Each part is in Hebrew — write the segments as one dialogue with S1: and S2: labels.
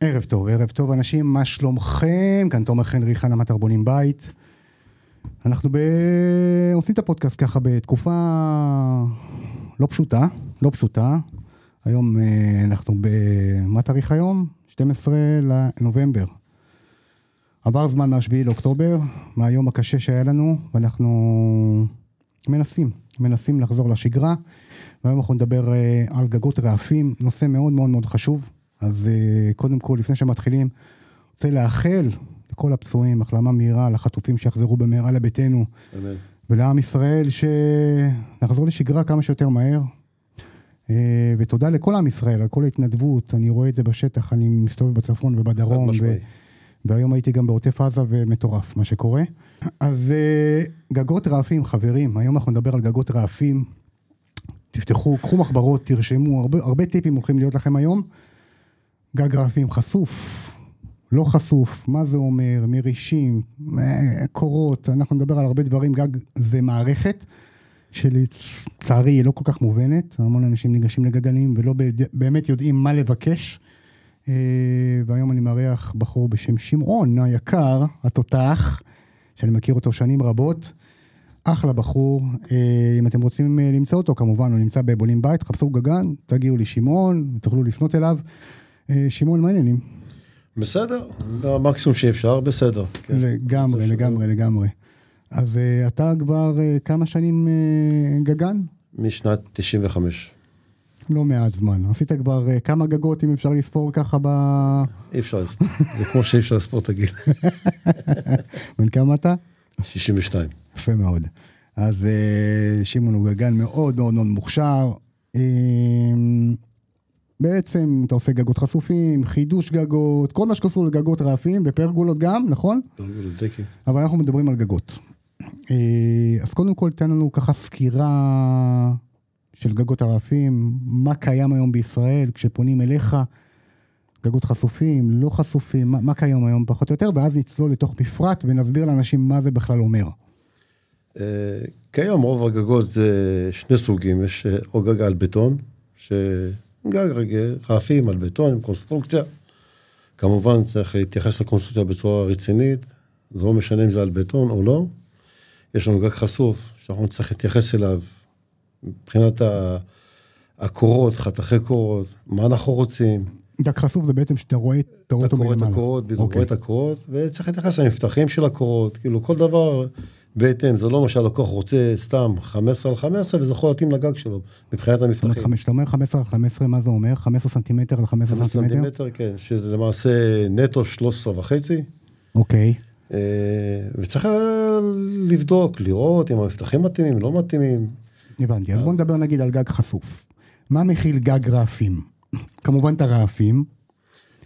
S1: ערב טוב, ערב טוב אנשים, מה שלומכם? כאן תומר חנרי, חנה מטרבונים בית. אנחנו ב... עושים את הפודקאסט ככה בתקופה לא פשוטה, לא פשוטה. היום אה, אנחנו ב... מה התאריך היום? 12 לנובמבר. עבר זמן מה-7 לאוקטובר, מהיום הקשה שהיה לנו, ואנחנו מנסים, מנסים לחזור לשגרה. והיום אנחנו נדבר אה, על גגות רעפים, נושא מאוד מאוד מאוד חשוב. אז אה, קודם כל, לפני שמתחילים, רוצה לאחל לכל הפצועים החלמה מהירה, לחטופים שיחזרו במהרה לביתנו,
S2: אמן.
S1: ולעם ישראל שנחזור לשגרה כמה שיותר מהר. אה, ותודה לכל עם ישראל, על כל ההתנדבות, אני רואה את זה בשטח, אני מסתובב בצפון ובדרום.
S2: חד משמעי.
S1: והיום הייתי גם בעוטף עזה ומטורף מה שקורה. אז אה, גגות רעפים, חברים, היום אנחנו נדבר על גגות רעפים. תפתחו, קחו מחברות, תרשמו, הרבה, הרבה טיפים הולכים להיות לכם היום. גג רעפים חשוף, לא חשוף, מה זה אומר, מרישים, אה, קורות, אנחנו נדבר על הרבה דברים, גג זה מערכת שלצערי היא לא כל כך מובנת, המון אנשים ניגשים לגגנים ולא בד- באמת יודעים מה לבקש. אה, והיום אני מארח בחור בשם שמעון היקר, התותח, שאני מכיר אותו שנים רבות. אחלה בחור, אה, אם אתם רוצים אה, למצוא אותו כמובן, הוא נמצא בבונים בית, חפשו גגן, תגיעו לשמעון, תוכלו לפנות אליו. אה, שמעון, מה העניינים?
S2: בסדר, במקסימום שאפשר, בסדר. כן.
S1: לגמרי,
S2: בסדר.
S1: לגמרי, לגמרי. אז אה, אתה כבר אה, כמה שנים אה, גגן?
S2: משנת 95.
S1: לא מעט זמן. עשית כבר אה, כמה גגות, אם אפשר לספור ככה ב...
S2: אי אפשר לספור, זה כמו שאי אפשר לספור את הגיל.
S1: בן כמה אתה?
S2: 62.
S1: יפה מאוד. אז אה, שמעון הוא גגן מאוד מאוד מאוד מוכשר. אה, בעצם אתה עושה גגות חשופים, חידוש גגות, כל מה שקשור לגגות רעפים, בפרגולות גם, נכון?
S2: גולגול הדקי.
S1: אבל אנחנו מדברים על גגות. אה, אז קודם כל תן לנו ככה סקירה של גגות הרעפים, מה קיים היום בישראל כשפונים אליך, גגות חשופים, לא חשופים, מה, מה קיים היום פחות או יותר, ואז נצלול לתוך מפרט ונסביר לאנשים מה זה בכלל אומר.
S2: אה, כיום רוב הגגות זה שני סוגים, יש אה, או גג על בטון, שגג רג- רעפים על בטון עם קונסטרוקציה. כמובן צריך להתייחס לקונסטרוקציה בצורה רצינית, זה לא משנה אם זה על בטון או לא. יש לנו גג חשוף שאנחנו נצטרך להתייחס אליו מבחינת ה- הקורות, חתכי קורות, מה אנחנו רוצים.
S1: גג חשוף זה בעצם שאתה רואה, אתה רואה
S2: אתה
S1: אותו
S2: קורא את
S1: מלמעלה.
S2: הקורות, בדיוק, רואה
S1: אוקיי.
S2: את הקורות, וצריך להתייחס למפתחים של הקורות, כאילו כל דבר בהתאם, זה לא מה שהלקוח רוצה סתם 15 על 15, וזה יכול להתאים לגג שלו, מבחינת
S1: זאת אומרת,
S2: המפתחים.
S1: חמש- כשאתה אומר 15 על 15, מה זה אומר? 15 סנטימטר ל 15 סנטימטר?
S2: סנטימטר, כן, שזה למעשה נטו 13 וחצי,
S1: אוקיי.
S2: אה, וצריך אה, לבדוק, לראות אם המפתחים מתאימים, לא מתאימים.
S1: הבנתי,
S2: אה.
S1: אז בוא נדבר נגיד על גג חשוף. מה מכיל גג רעפים? כמובן את הרעפים,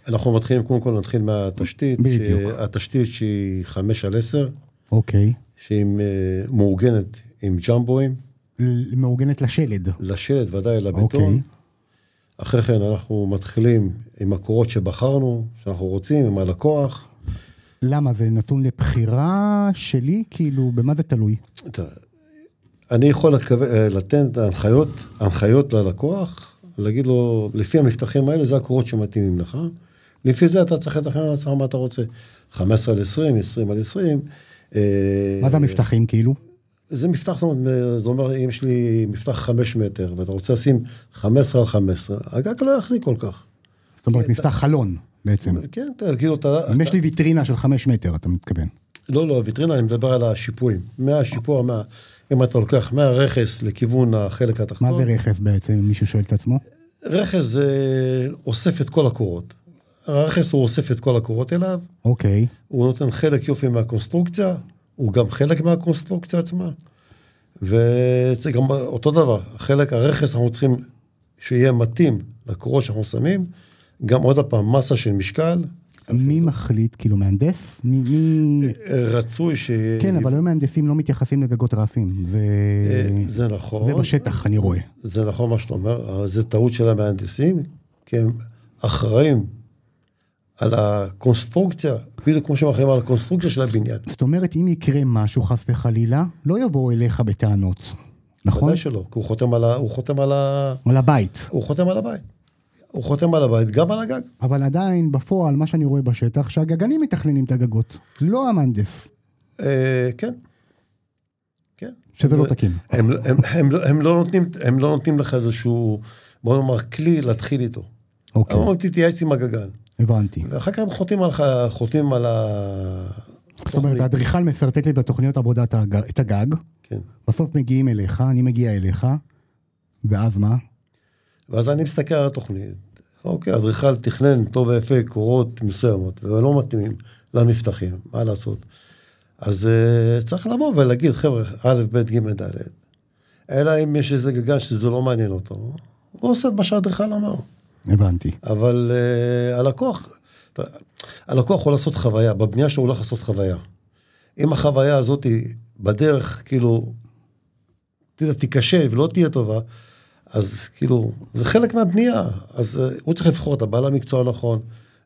S2: אנחנו מתחילים, קודם כל נתחיל מהתשתית,
S1: בדיוק.
S2: התשתית שהיא 5 על 10,
S1: אוקיי.
S2: שהיא אה, מאורגנת עם ג'מבואים,
S1: ל- מעוגנת לשלד.
S2: לשלד ודאי,
S1: אוקיי.
S2: לבטון. אחרי כן אנחנו מתחילים עם הקורות שבחרנו, שאנחנו רוצים, עם הלקוח.
S1: למה? זה נתון לבחירה שלי? כאילו, במה זה תלוי?
S2: תראה, אני יכול לקו- אה, לתת הנחיות, הנחיות ללקוח, להגיד לו, לפי המבטחים האלה, זה הקורות שמתאימים לך. לפי זה אתה צריך לתכנן על עצמך מה אתה רוצה. 15 על 20, 20 על 20. אה,
S1: מה זה המבטחים כאילו?
S2: זה מפתח, זאת אומרת, זה אומר, אם יש לי מפתח 5 מטר, ואתה רוצה לשים 15 על 15, הגג לא יחזיק כל כך.
S1: זאת אומרת,
S2: כן,
S1: מפתח חלון בעצם.
S2: כן, אתה- כאילו אתה...
S1: אם
S2: אתה-
S1: יש לי ויטרינה של חמש מטר, אתה מתכוון.
S2: לא, לא, הוויטרינה, אני מדבר על השיפועים. מהשיפוע, מה... אם אתה לוקח מהרכס לכיוון החלק התחתון.
S1: מה זה רכס בעצם, אם מישהו שואל את עצמו?
S2: רכס זה אוסף את כל הקורות. הרכס הוא אוסף את כל הקורות אליו,
S1: אוקיי.
S2: הוא נותן חלק יופי מהקונסטרוקציה, הוא גם חלק מהקונסטרוקציה עצמה. וזה גם אותו דבר, חלק הרכס אנחנו צריכים שיהיה מתאים לקורות שאנחנו שמים, גם עוד פעם, מסה של משקל.
S1: מי מחליט? כאילו, מהנדס? מי...
S2: אה,
S1: מי-
S2: רצוי ש...
S1: כן, אבל היום מהנדסים לא מתייחסים לגגות רעפים. זה...
S2: זה נכון.
S1: זה בשטח, אני רואה.
S2: זה נכון מה שאתה אומר, אבל זה טעות של המהנדסים, כי הם אחראים על הקונסטרוקציה, בדיוק כמו שהם אחראים על הקונסטרוקציה של הבניין.
S1: זאת אומרת, אם יקרה משהו, חס וחלילה, לא יבואו אליך בטענות, נכון?
S2: ודאי שלא, כי הוא חותם על ה... הוא חותם על ה...
S1: על הבית.
S2: הוא חותם על הבית. הוא חותם על הבית, גם על הגג.
S1: אבל עדיין, בפועל, מה שאני רואה בשטח, שהגגנים מתכננים את הגגות, לא המהנדס,
S2: אה, כן. כן.
S1: שזה לא תקין.
S2: הם, הם, הם, לא- הם, לא נותנים, הם לא נותנים לך איזשהו, בוא נאמר, כלי להתחיל איתו.
S1: אוקיי,
S2: הם אומרים, תתייעץ עם הגגן.
S1: הבנתי.
S2: ואחר כך הם חותמים עליך, חותמים על ה...
S1: זאת אומרת, האדריכל משרטט לי בתוכניות עבודה את הגג- את הגג,
S2: כן.
S1: בסוף מגיעים אליך, אני מגיע אליך, ואז מה?
S2: ואז אני מסתכל על התוכנית, אוקיי, אדריכל תכנן טוב ויפה קורות מסוימות, ולא מתאימים למבטחים, מה לעשות? אז uh, צריך לבוא ולהגיד, חבר'ה, א', ב', ג', ד', אלא אם יש איזה גגן שזה לא מעניין אותו, הוא עושה את מה שהאדריכל אמר.
S1: הבנתי.
S2: אבל uh, הלקוח, אתה- הלקוח יכול לעשות חוויה, בבנייה שהוא הולך לעשות חוויה. אם החוויה הזאת היא בדרך, כאילו, אתה יודע, תיכשל ולא תהיה טובה, אז כאילו, זה חלק מהבנייה. אז uh, הוא צריך לבחור את הבעל המקצוע הנכון,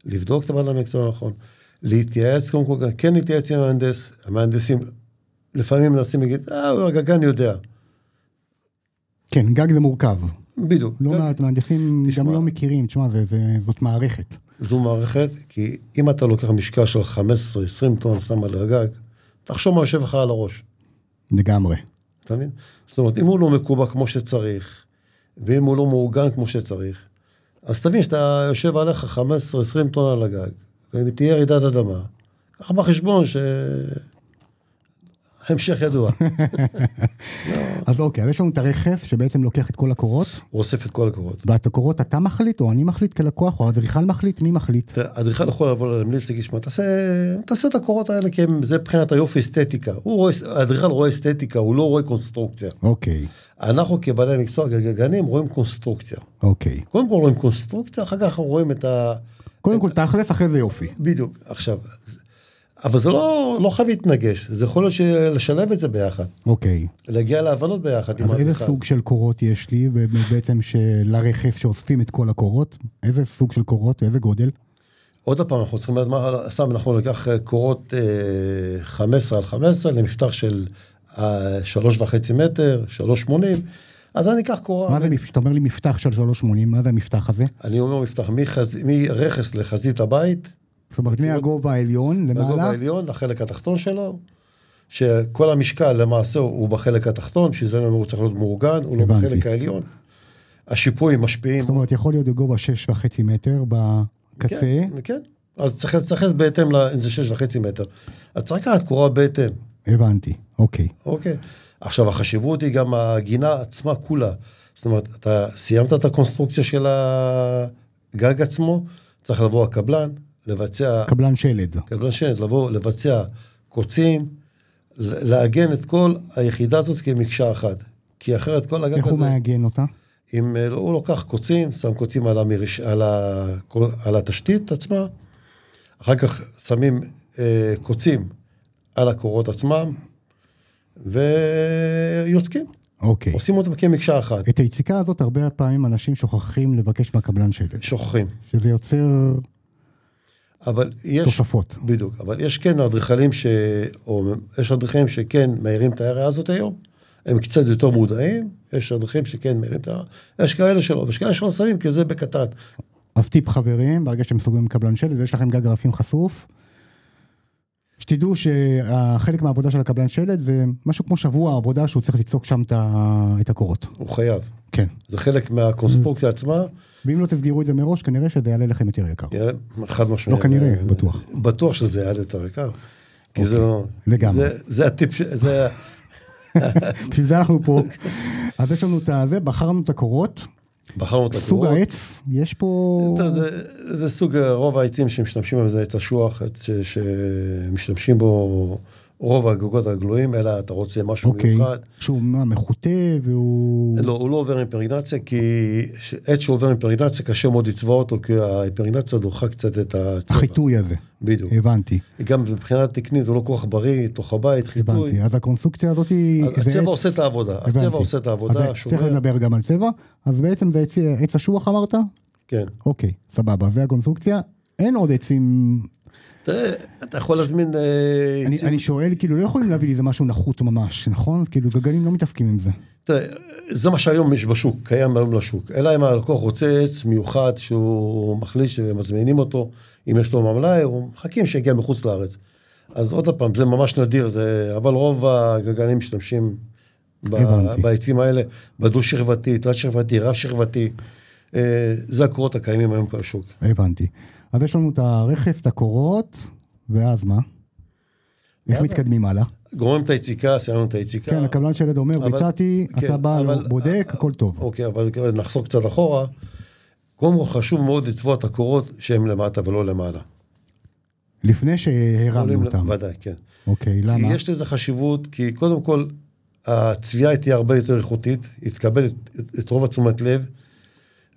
S2: לבדוק את הבעל המקצוע הנכון, להתייעץ קודם כל, כן להתייעץ עם המהנדס, המהנדסים לפעמים מנסים להגיד, אה, הוא הגגן יודע.
S1: כן, גג זה מורכב.
S2: בדיוק.
S1: לא מעט מהנדסים
S2: תשמע.
S1: גם לא מכירים, תשמע, זה- זה- זאת מערכת.
S2: זו מערכת, כי אם אתה לוקח משקל של 15-20 טון, שם על הגג, תחשוב מה יושב לך על הראש,
S1: לגמרי.
S2: אתה מבין? זאת אומרת, אם הוא לא מקובע כמו שצריך, ואם הוא לא מאורגן כמו שצריך, אז תבין שאתה יושב עליך 15-20 טון על הגג, ואם תהיה רעידת אדמה, קח בחשבון ש... המשך ידוע.
S1: אז אוקיי, אז יש לנו את הרכס שבעצם לוקח את כל הקורות,
S2: הוא אוסף את כל הקורות.
S1: ואת הקורות אתה מחליט, או אני מחליט כלקוח, או האדריכל מחליט, מי מחליט?
S2: אתה- האדריכל יכול לבוא להמליץ, להגיד, שמע, תעשה, תעשה את הקורות האלה, כי הם- זה מבחינת היופי אסתטיקה. הוא רואה, האדריכל רואה אסתטיקה, הוא לא רואה קונסטרוקציה.
S1: אוקיי,
S2: אנחנו כבעלי מקצוע גגנים רואים קונסטרוקציה.
S1: אוקיי.
S2: קודם כל רואים קונסטרוקציה, אחר כך אנחנו רואים את ה...
S1: קודם כל תכלס, אחרי זה יופי.
S2: בדיוק, עכשיו. אבל זה לא, לא חייב להתנגש, זה יכול להיות ש- לשלב את זה ביחד,
S1: אוקיי.
S2: להגיע להבנות ביחד. עם
S1: אז איזה
S2: האדריכל.
S1: סוג של קורות יש לי, בעצם שלרכס שאוספים את כל הקורות? איזה סוג של קורות? איזה גודל?
S2: עוד פעם, אנחנו צריכים לדעת מה, סתם אנחנו ניקח אה, קורות אה, 15 על 15 למפתח של אה, שלוש וחצי מטר, 3.80, אז לא, אני אקח קורה,
S1: מה זה, מפ- אתה אומר לי מפתח של 380, מה זה המפתח הזה?
S2: אני אומר מפתח מחז- מרכס לחזית הבית,
S1: זאת אומרת, מהגובה העליון
S2: בגובה
S1: למעלה?
S2: העליון לחלק התחתון שלו, שכל המשקל למעשה הוא הוא בחלק התחתון, בשביל זה אני אומר, הוא צריך להיות מאורגן, הוא לא
S1: הבנתי.
S2: בחלק העליון. השיפועים משפיעים.
S1: זאת אומרת, יכול להיות בגובה 6.5 מטר בקצה,
S2: כן, כן. אז צריך להתייחס בהתאם, ל- אם זה שש וחצי מטר. אז צריך לקחת קורה בהתאם,
S1: הבנתי, אוקיי.
S2: אוקיי. עכשיו, החשיבות היא גם הגינה עצמה כולה. זאת אומרת, אתה סיימת את הקונסטרוקציה של הגג עצמו, צריך לבוא הקבלן, לבצע
S1: קבלן שלד.
S2: קבלן שלט, לבוא, לבצע קוצים, ל- לעגן את כל היחידה הזאת כמקשה אחת. כי אחרת כל הגג
S1: איך הוא
S2: הזה,
S1: מעגן אותה?
S2: אם אה, הוא לוקח קוצים, שם קוצים על, המרש, על, ה, על התשתית עצמה, אחר כך שמים אה, קוצים על הקורות עצמם, ויוצקים,
S1: אוקיי.
S2: עושים אותם כמקשה אחת,
S1: את היציקה הזאת הרבה פעמים אנשים שוכחים לבקש מהקבלן שלד,
S2: שוכחים.
S1: שזה יוצר
S2: אבל יש
S1: תוספות.
S2: בדיוק, אבל יש כן אדריכלים ש... או יש אדריכלים שכן מאירים את ההערה הזאת היום, הם קצת יותר מודעים, יש אדריכלים שכן מאירים את ההערה, יש כאלה שלא, ויש כאלה שלא שמים, כי זה בקטן.
S1: אז טיפ חברים, ברגע שאתם סוגרים קבלן שלד ויש לכם גג רפים חשוף, שתדעו שחלק מהעבודה של הקבלן שלד זה משהו כמו שבוע עבודה שהוא צריך ליצוק שם את ה- את הקורות.
S2: הוא חייב.
S1: כן.
S2: זה חלק מהקונסטרוקציה
S1: Mm.
S2: עצמה,
S1: ואם לא תסגרו את זה מראש, כנראה שזה יעלה לכם יותר יקר.
S2: יעלה- חד משמעית.
S1: לא כנראה, בטוח. אוקיי,
S2: בטוח שזה יעלה יותר יקר. כי זה לא...
S1: לגמרי.
S2: זה- זה הטיפ, ש- זה...
S1: בשביל זה אנחנו פה. אז יש לנו את הזה, בחרנו את הקורות,
S2: בחרנו את
S1: סוג
S2: הקורות.
S1: העץ, יש פה...
S2: אתה יודע, זה, זה סוג, אה, רוב העצים שמשתמשים בהם זה עץ אשוח, עץ ש- שמשתמשים בו רוב הגגות הגלויים, אלא אתה רוצה משהו
S1: אוקיי.
S2: מיוחד.
S1: שהוא מה, מחוטא והוא...
S2: לא, הוא לא עובר אימפרגנציה, כי ש- עץ שעובר אימפרגנציה קשה מאוד לצבוע אותו, כי האימפרגנציה דוחה קצת את הצבע.
S1: החיטוי הזה.
S2: בדיוק.
S1: הבנתי,
S2: גם מבחינה תקנית הוא לא כל כך בריא, תוך הבית, חיטוי.
S1: אה, הבנתי. אז הקונסטרוקציה הזאת היא...
S2: אז
S1: זה
S2: הצבע
S1: עץ-
S2: עושה את העבודה.
S1: הבנתי.
S2: הצבע עושה את העבודה,
S1: אז
S2: שומר.
S1: צריך לדבר גם על צבע. אז בעצם זה עץ- עץ אשוח אמרת?
S2: כן.
S1: אוקיי, סבבה, זה הקונסטרוקציה. אין עוד עצים...
S2: תראה, אתה יכול להזמין... אה,
S1: אני,
S2: עצים-
S1: אני שואל, כאילו, לא יכולים להביא לי איזה משהו נחות ממש, נכון? כאילו, גגנים לא מתעסקים עם זה.
S2: תראה, זה מה שהיום יש בשוק, קיים היום לשוק. אלא אם הלקוח רוצה עץ מיוחד שהוא מחליש ומזמינים אותו, אם יש לו ממלאי, הוא מחכים שיגיע מחוץ לארץ. אז עוד פעם, זה ממש נדיר, זה... אבל רוב הגגנים משתמשים ב-
S1: הבנתי.
S2: בעצים האלה, בדו-שכבתי, תלת-שכבתי, רב-שכבתי. אה, זה הקורות הקיימים היום בשוק.
S1: הבנתי. אז יש לנו את הרכס, את הקורות, ואז מה? איך
S2: ואז-
S1: מתקדמים הלאה?
S2: גומרים את היציקה, סיימנו את היציקה.
S1: כן, הקבלן של עד אומר,
S2: אבל-
S1: ביצעתי,
S2: כן,
S1: אתה בא,
S2: אבל-
S1: בודק, הכל טוב.
S2: אוקיי, אבל נחזור קצת אחורה. קודם כל חשוב מאוד לצבוע את הקורות שהן למטה ולא למעלה.
S1: לפני שהרמנו
S2: עולים-
S1: אותם.
S2: ודאי, כן.
S1: אוקיי,
S2: כי
S1: למה?
S2: יש לזה חשיבות, כי קודם כל, הצביעה תהיה הרבה יותר איכותית, היא תקבל את, את, את רוב התשומת לב,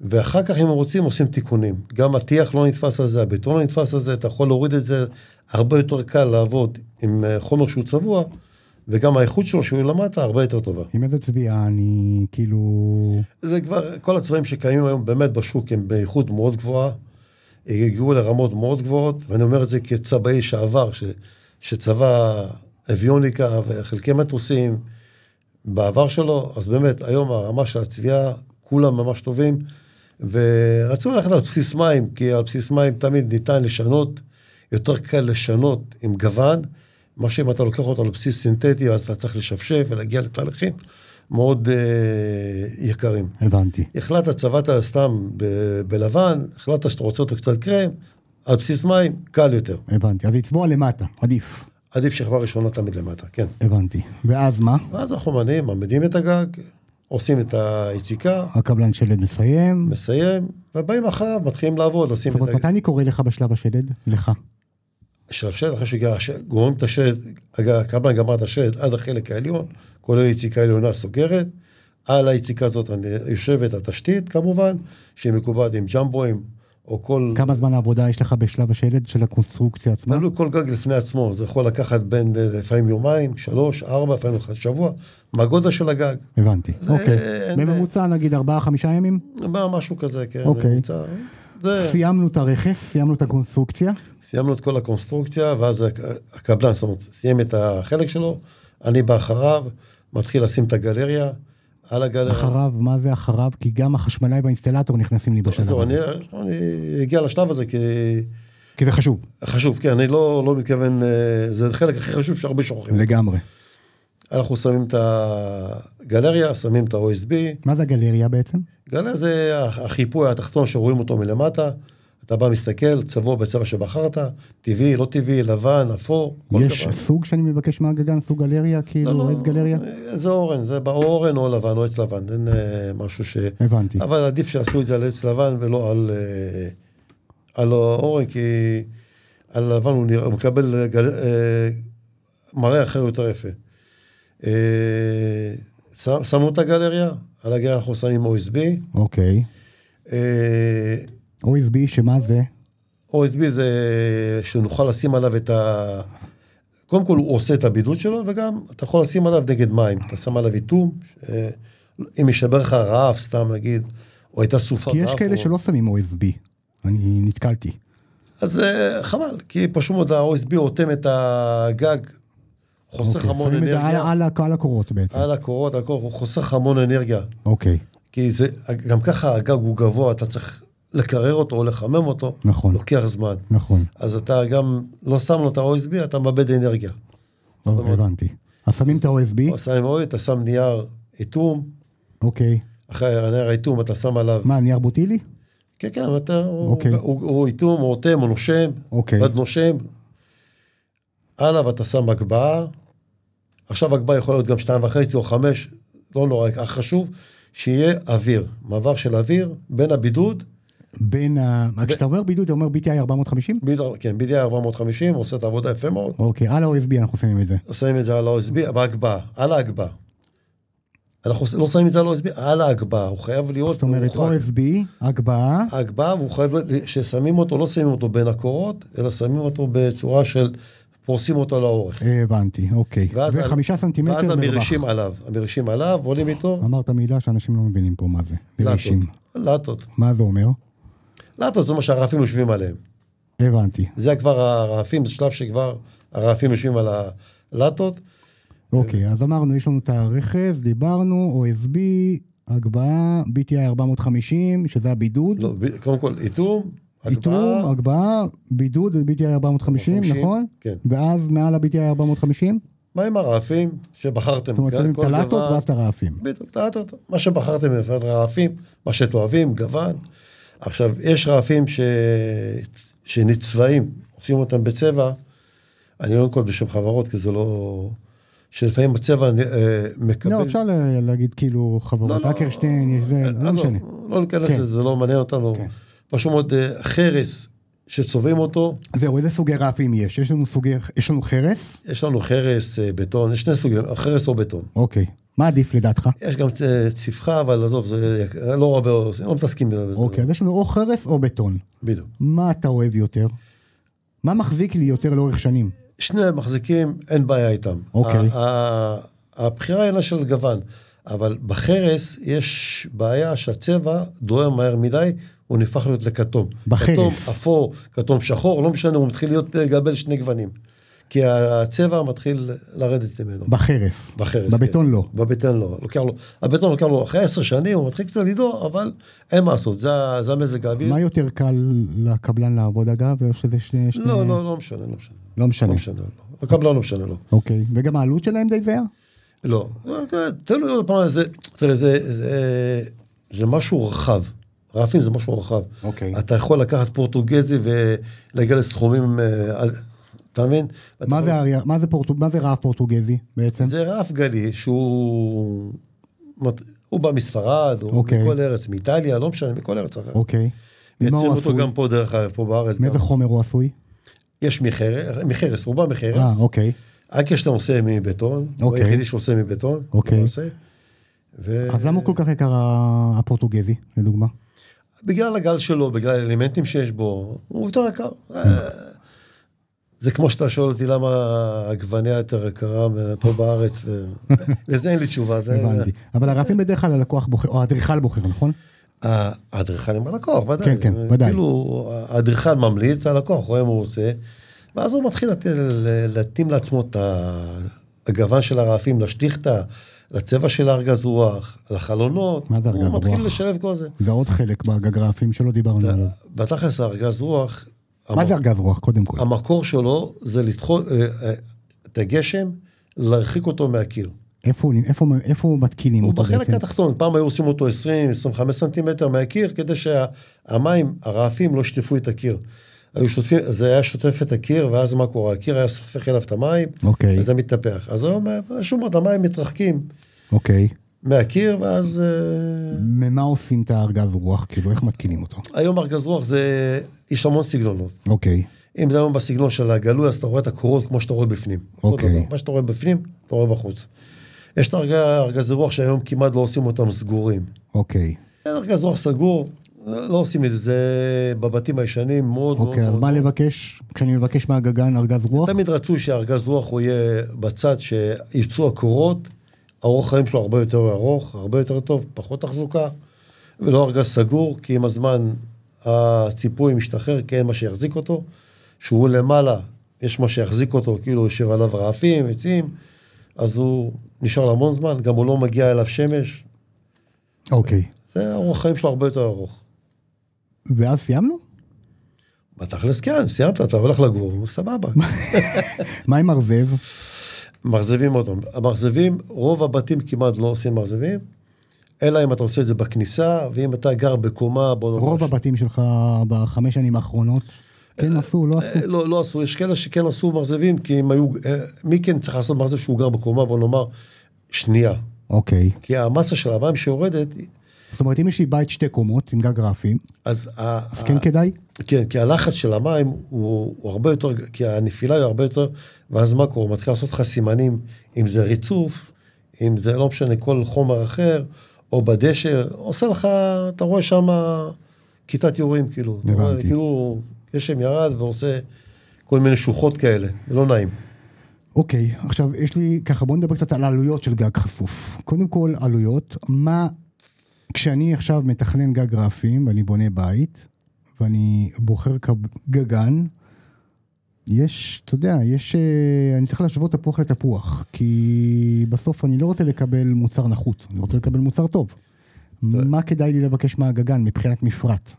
S2: ואחר כך, אם רוצים, עושים תיקונים. גם הטיח לא נתפס על זה, הבטון לא נתפס על זה, אתה יכול להוריד את זה, הרבה יותר קל לעבוד עם אה, חומר שהוא צבוע, וגם האיכות שלו, שהוא למטה, הרבה יותר טובה.
S1: עם איזה צביעה אני, כאילו...
S2: זה כבר, כל הצבעים שקיימים היום באמת בשוק הם באיכות מאוד גבוהה, הגיעו לרמות מאוד גבוהות, ואני אומר את זה כצבעי שעבר, ש, שצבע אביוניקה וחלקי מטוסים בעבר שלו, אז באמת היום הרמה של הצביעה, כולם ממש טובים, ורצו ללכת על בסיס מים, כי על בסיס מים תמיד ניתן לשנות, יותר קל לשנות עם גוון, מה שאם אתה לוקח אותו על בסיס סינתטי, אז אתה צריך לשפשף ולהגיע לתהליכים מאוד אה, יקרים.
S1: הבנתי.
S2: החלטת, צבעת סתם ב- בלבן, החלטת שאתה רוצה אותו קצת קרם, על בסיס מים, קל יותר.
S1: הבנתי. אז לצבוע למטה, עדיף.
S2: עדיף שכבה ראשונה תמיד למטה, כן.
S1: הבנתי. ואז מה?
S2: ואז אנחנו מניעים, מעמידים את הגג, עושים את היציקה,
S1: הקבלן שלד מסיים.
S2: מסיים, ובאים אחריו, מתחילים לעבוד, עושים
S1: זאת
S2: את
S1: אומרת,
S2: הגג.
S1: מתי אני קורא לך בשלב השלד? לך.
S2: של השלד, אחרי שהגיע, הש- גורמים את השלד, הג- הקבלן גמר את השלד עד החלק העליון, כולל יציקה עליונה סוגרת. על היציקה הזאת אני- יושבת התשתית כמובן, שהיא מקובעת עם ג'מבואים או כל...
S1: כמה זמן העבודה יש לך בשלב השלד של הקונסטרוקציה עצמה?
S2: תלוי כל גג לפני עצמו, זה יכול לקחת בין אה, לפעמים יומיים, שלוש, ארבע, לפעמים אחד שבוע, מהגודל של הגג,
S1: הבנתי. אוקיי.
S2: אין-
S1: בממוצע נגיד 4-5 ימים?
S2: מה- משהו כזה, כן,
S1: אוקיי.
S2: ממוצע. זה,
S1: סיימנו את הרכס, סיימנו את הקונסטרוקציה.
S2: סיימנו את כל הקונסטרוקציה, ואז הק- הקבלן זאת אומרת, סיים את החלק שלו, אני בא אחריו, מתחיל לשים את הגלריה, על הגלריה.
S1: אחריו, מה זה אחריו? כי גם החשמלאי והאינסטלטור נכנסים לי
S2: אז
S1: בשלב
S2: זהו, אני,
S1: הזה.
S2: אני אגיע לשלב הזה, כי
S1: כי זה חשוב.
S2: חשוב, כן, אני לא, לא מתכוון, אה, זה חלק הכי חשוב שהרבה שוכחים.
S1: לגמרי.
S2: אנחנו שמים את הגלריה, שמים את ה-OSB,
S1: מה זה הגלריה בעצם?
S2: גלריה זה החיפוי התחתון שרואים אותו מלמטה. אתה בא, מסתכל, צבוע בצבע שבחרת, טבעי, לא טבעי, לבן, אפור, כל
S1: יש
S2: דבר. לא,
S1: סוג שאני מבקש מהגגן, סוג גלריה? כאילו, איזה גלריה?
S2: זה אורן, זה בא או אורן או לבן או עץ לבן, אין אה, משהו ש...
S1: הבנתי.
S2: אבל עדיף שיעשו את זה על עץ לבן ולא על, אה, על אורן, כי על לבן הוא, נראה, הוא מקבל אה, גל, אה, מראה אחר יותר יפה. אה, ש- שמנו את הגלריה, על הגלריה אנחנו שמים OSB.
S1: אוקיי.
S2: אה,
S1: OSB, שמה זה?
S2: OSB זה שנוכל לשים עליו את ה... קודם כל הוא עושה את הבידוד שלו, וגם אתה יכול לשים עליו נגד מים. אתה שם עליו איתום, אה, אם ישבר לך רעב, סתם נגיד, או הייתה סופה
S1: כי יש
S2: רעב,
S1: כאלה
S2: או...
S1: שלא שמים OSB. אני נתקלתי.
S2: אז אה, חבל, כי פשוט מאוד ה-OSB אוטם את הגג, חוסך
S1: אוקיי,
S2: המון
S1: שמים את זה על-
S2: אנרגיה,
S1: על ה- על הקורות בעצם.
S2: על הקורות, הכל, הוא חוסך המון אנרגיה.
S1: אוקיי,
S2: כי זה, גם ככה הגג הוא גבוה, אתה צריך לקרר אותו או לחמם אותו,
S1: נכון,
S2: לוקח זמן.
S1: נכון.
S2: אז אתה גם לא שם לו את ה-OSB, אתה מאבד אנרגיה.
S1: טוב,
S2: אומרת-
S1: אוקיי, הבנתי. אז שמים את ה-OSB,
S2: אתה שם אוהל, אתה שם נייר איתום,
S1: אוקיי.
S2: אחרי הנייר האיתום אתה שם עליו,
S1: מה, נייר בוטילי?
S2: כן כן, אתה, הוא
S1: אוקיי.
S2: הוא- הוא איתום, הוא אוטם, הוא נושם,
S1: אוקיי.
S2: ואת נושם, עליו אתה שם הגבהה, עכשיו הגבהה יכול להיות גם שתיים וחצי או חמש, לא נורא, אך חשוב, שיהיה אוויר, מעבר של אוויר בין הבידוד,
S1: בין ה... כשאתה אומר בידוד, אתה אומר BTI 450?
S2: ביד- כן, BDI 450, עושה את העבודה יפה מאוד,
S1: אוקיי, על ה-OSB אנחנו שמים את זה.
S2: שמים את זה על ה-OSB, בהגבהה, על ההגבהה. אנחנו לא שמים את זה על ה-OSB, על ההגבהה, הוא חייב להיות...
S1: זאת אומרת,
S2: מורחק.
S1: OSB, הגבהה,
S2: הגבהה, והוא חייב, ששמים אותו, לא שמים אותו בין הקורות, אלא שמים אותו בצורה של, פורסים אותו לאורך.
S1: הבנתי, אוקיי.
S2: ואז
S1: זה
S2: ה-
S1: חמישה סנטימטר
S2: ואז
S1: מרווח.
S2: המרישים עליו, המרישים עליו, עולים איתו
S1: אמרת מילה שאנשים לא מבינים פה מה זה.
S2: לטות.
S1: מרישים.
S2: לטות.
S1: מה זה אומר?
S2: לטות זה מה שהרפים יושבים עליהם.
S1: הבנתי.
S2: זה כבר הרעפים, זה שלב שכבר הרעפים יושבים על הלטות. אה.
S1: אוקיי, אז אמרנו, יש לנו את הרכס, דיברנו, OSB, הגבהה, BTI 450, שזה הבידוד.
S2: לא, ב- קודם כל, איתום,
S1: איתום,
S2: הגבהה,
S1: הגבהה, בידוד, זה BTI 450,
S2: 450,
S1: נכון?
S2: כן.
S1: ואז מעל ה-BTI 450?
S2: מה עם הרעפים שבחרתם?
S1: זאת אומרת,
S2: אוקיי, כל
S1: שמים את הלטות
S2: גוון-
S1: ואז את הרעפים.
S2: בדיוק, טעטת, מה שבחרתם מבחינת רעפים, מה שתאהבים, גוון. עכשיו, יש רעפים ש... שנצבעים, עושים אותם בצבע, אני לא אנקוט בשם חברות, כי זה לא... שלפעמים הצבע אה, מקבל...
S1: לא, אפשר ל- להגיד כאילו
S2: לא,
S1: חברות
S2: לא.
S1: אקרשטיין, יש זה, לא
S2: עזוב,
S1: משנה.
S2: לא ניכנס
S1: כן.
S2: לזה, זה לא מעניין אותנו.
S1: כן.
S2: פשוט מאוד אה, חרס שצובעים אותו,
S1: זהו, איזה סוגי רעפים יש? יש לנו סוגי, יש לנו חרס?
S2: יש לנו חרס, אה, בטון, יש שני סוגים, חרס או בטון.
S1: אוקיי. מה עדיף לדעתך?
S2: יש גם צ- צפחה, אבל עזוב, זה לא הרבה עושים, לא מתעסקים בזה.
S1: אוקיי, אז יש לנו או חרס או בטון.
S2: בדיוק.
S1: מה אתה אוהב יותר? מה מחזיק לי יותר לאורך שנים?
S2: שני מחזיקים, אין בעיה איתם.
S1: אוקיי.
S2: ה- ה- הבחירה היא של גוון, אבל בחרס יש בעיה שהצבע דוהר מהר מדי, הוא נהפך להיות לכתום.
S1: בחרס.
S2: כתום אפור, כתום שחור, לא משנה, הוא מתחיל להיות אה, גבל שני גוונים. כי הצבע מתחיל לרדת ממנו.
S1: בחרס.
S2: בחרס.
S1: בבטון
S2: כן.
S1: לא.
S2: בבטון לא. לוקח לו, הבטון לוקח לו אחרי עשר שנים, הוא מתחיל קצת לדור, אבל אין מה לעשות, זה, ה- זה המזג האוויר.
S1: מה יותר קל לקבלן לעבוד אגב? או שזה שני... שני-
S2: לא, לא, לא משנה, לא משנה.
S1: לא
S2: לא
S1: אה. משנה.
S2: משנה, לא. הקבלן לא משנה, לא.
S1: אוקיי. וגם העלות שלהם די זהה?
S2: לא, תלוי עוד פעם, זה, תראה, זה, זה, זה משהו רחב. רעפים זה משהו רחב.
S1: אוקיי.
S2: אתה יכול לקחת פורטוגזי ולהגיע לסכומים, אה, על- אתה מבין?
S1: מה
S2: אתה-
S1: זה האריה- מה זה פורטו- מה זה רעב פורטוגזי בעצם?
S2: זה רעף גלי שהוא... מת- הוא בא מספרד, הוא
S1: אוקיי.
S2: מכל ארץ, מאיטליה, לא משנה, מכל ארץ אחרת.
S1: אוקיי. ממה
S2: מייצרים
S1: הוא
S2: אותו
S1: עשוי?
S2: גם פה דרך אגב, פה בארץ.
S1: מאיזה
S2: גם.
S1: חומר הוא עשוי?
S2: יש מחרס, מחרס, הוא בא
S1: אה,
S2: מחרס.
S1: אוקיי.
S2: אקיה שאתה עושה מבטון, הוא
S1: אוקיי.
S2: היחידי שעושה מבטון.
S1: אוקיי.
S2: למעשה. ו-
S1: אז למה הוא כל כך יקר ה- הפורטוגזי, לדוגמה?
S2: אה, בגלל הגל שלו, בגלל האלמנטים שיש בו, הוא יותר יקר. אה, זה כמו שאתה שואל אותי למה עגבניה יותר יקרה מ- פה בארץ, ו- לזה אין לי תשובה. זה-
S1: הבנתי. אבל הרעפים בדרך כלל הלקוח בוחר, או האדריכל בוחר, נכון?
S2: ה- האדריכל עם הלקוח, ודאי.
S1: כן, כן,
S2: זה
S1: ודאי.
S2: כאילו, האדריכל ממליץ, הלקוח רואה מה הוא רוצה, ואז הוא מתחיל לת- ל- להתאים לעצמו את ה- הגוון של הרעפים, לשטיחטה, לצבע של הארגז רוח, לחלונות.
S1: מה זה ארגז
S2: הוא מתחיל
S1: רוח?
S2: לשלב כל זה.
S1: זה עוד חלק בגרפים שלא דיברנו עליו.
S2: בתכלס הארגז רוח...
S1: מה זה ארגז רוח, קודם כל?
S2: המקור שלו זה לדחות אה, אה, את הגשם, להרחיק אותו מהקיר.
S1: איפה הוא- איפה- איפה מתקינים
S2: הוא
S1: אותו
S2: בחלק
S1: בעצם?
S2: התחתון, פעם היו עושים אותו 20-25 סנטימטר מהקיר, כדי שהמים, הרעפים, לא שטפו את הקיר. היו שוטפים, זה היה שוטף את הקיר, ואז מה קורה? הקיר היה סופך אליו את המים,
S1: אוקיי,
S2: אז זה מתנפח. אז היום, שום עוד, המים מתרחקים
S1: אוקיי.
S2: אה. מהקיר, ואז... אה,
S1: ממה עושים את הארגז רוח? כאילו, איך מתקינים אותו?
S2: היום ארגז רוח זה... יש המון סגנונות.
S1: אוקיי,
S2: אם זה היום בסגנון של הגלוי, אז אתה רואה את הקורות כמו שאתה רואה בפנים. אותו
S1: אוקיי.
S2: דבר. מה שאתה רואה בפנים, אתה רואה בחוץ. יש את הארג- ארגזי רוח שהיום כמעט לא עושים אותם סגורים.
S1: אוקיי.
S2: אין ארגז רוח סגור, לא עושים את זה, זה בבתים הישנים מאוד
S1: אוקיי, אז
S2: מאוד.
S1: מה
S2: מאוד.
S1: לבקש? כשאני מבקש מהגגן ארגז רוח?
S2: תמיד רצו שהארגז רוח הוא יהיה בצד שיצאו הקורות, ארוך חיים שלו הרבה יותר ארוך, הרבה יותר טוב, פחות תחזוקה, ולא ארגז סגור, כי עם הזמן הציפוי משתחרר, כי אין מה שיחזיק אותו, שהוא למעלה, יש מה שיחזיק אותו, כאילו יושב עליו רעפים, עצים, אז הוא נשאר להמון זמן, גם הוא לא מגיע אליו שמש,
S1: אוקיי.
S2: זה ארוך חיים שלו הרבה יותר ארוך.
S1: ואז סיימנו?
S2: בתכלס כן, סיימת, אתה הולך לגור, סבבה.
S1: מה עם ארזב?
S2: מרזבים אותם. המרזבים, רוב הבתים כמעט לא עושים מרזבים, אלא אם אתה עושה את זה בכניסה, ואם אתה גר בקומה, בוא נאמר...
S1: רוב
S2: ש-
S1: הבתים שלך בחמש שנים האחרונות, כן עשו, לא עשו.
S2: אה, לא, לא עשו, יש כאלה שכן עשו מרזבים, כי אם היו... אה, מי כן צריך לעשות מרזב שהוא גר בקומה, בוא נאמר, שנייה.
S1: אוקיי.
S2: כי המסה של המים שיורדת,
S1: זאת אומרת, אם יש לי בית שתי קומות עם גג רעפים,
S2: אז... ה-
S1: אז
S2: ה-
S1: כן כדאי?
S2: כן, כי הלחץ של המים הוא, הוא הרבה יותר, כי הנפילה היא הרבה יותר, ואז מה קורה? הוא מתחיל לעשות לך סימנים, אם זה ריצוף, אם זה לא משנה, כל חומר אחר, או בדשא, עושה לך, אתה רואה שם כיתת יורים, כאילו. אתה רואה,
S1: הבנתי.
S2: כאילו, גשם ירד ועושה כל מיני שוחות כאלה, לא נעים.
S1: אוקיי, עכשיו יש לי, ככה בוא נדבר קצת על העלויות של גג חשוף. קודם כל עלויות, מה, כשאני עכשיו מתכנן גג רעפים ואני בונה בית, ואני בוחר קב- גגן, יש, אתה יודע, יש... אה, אני צריך להשוות תפוח לתפוח, כי בסוף אני לא רוצה לקבל מוצר נחות, אני רוצה לקבל מוצר טוב. מה כדאי לי לבקש מהגגן מבחינת מפרט?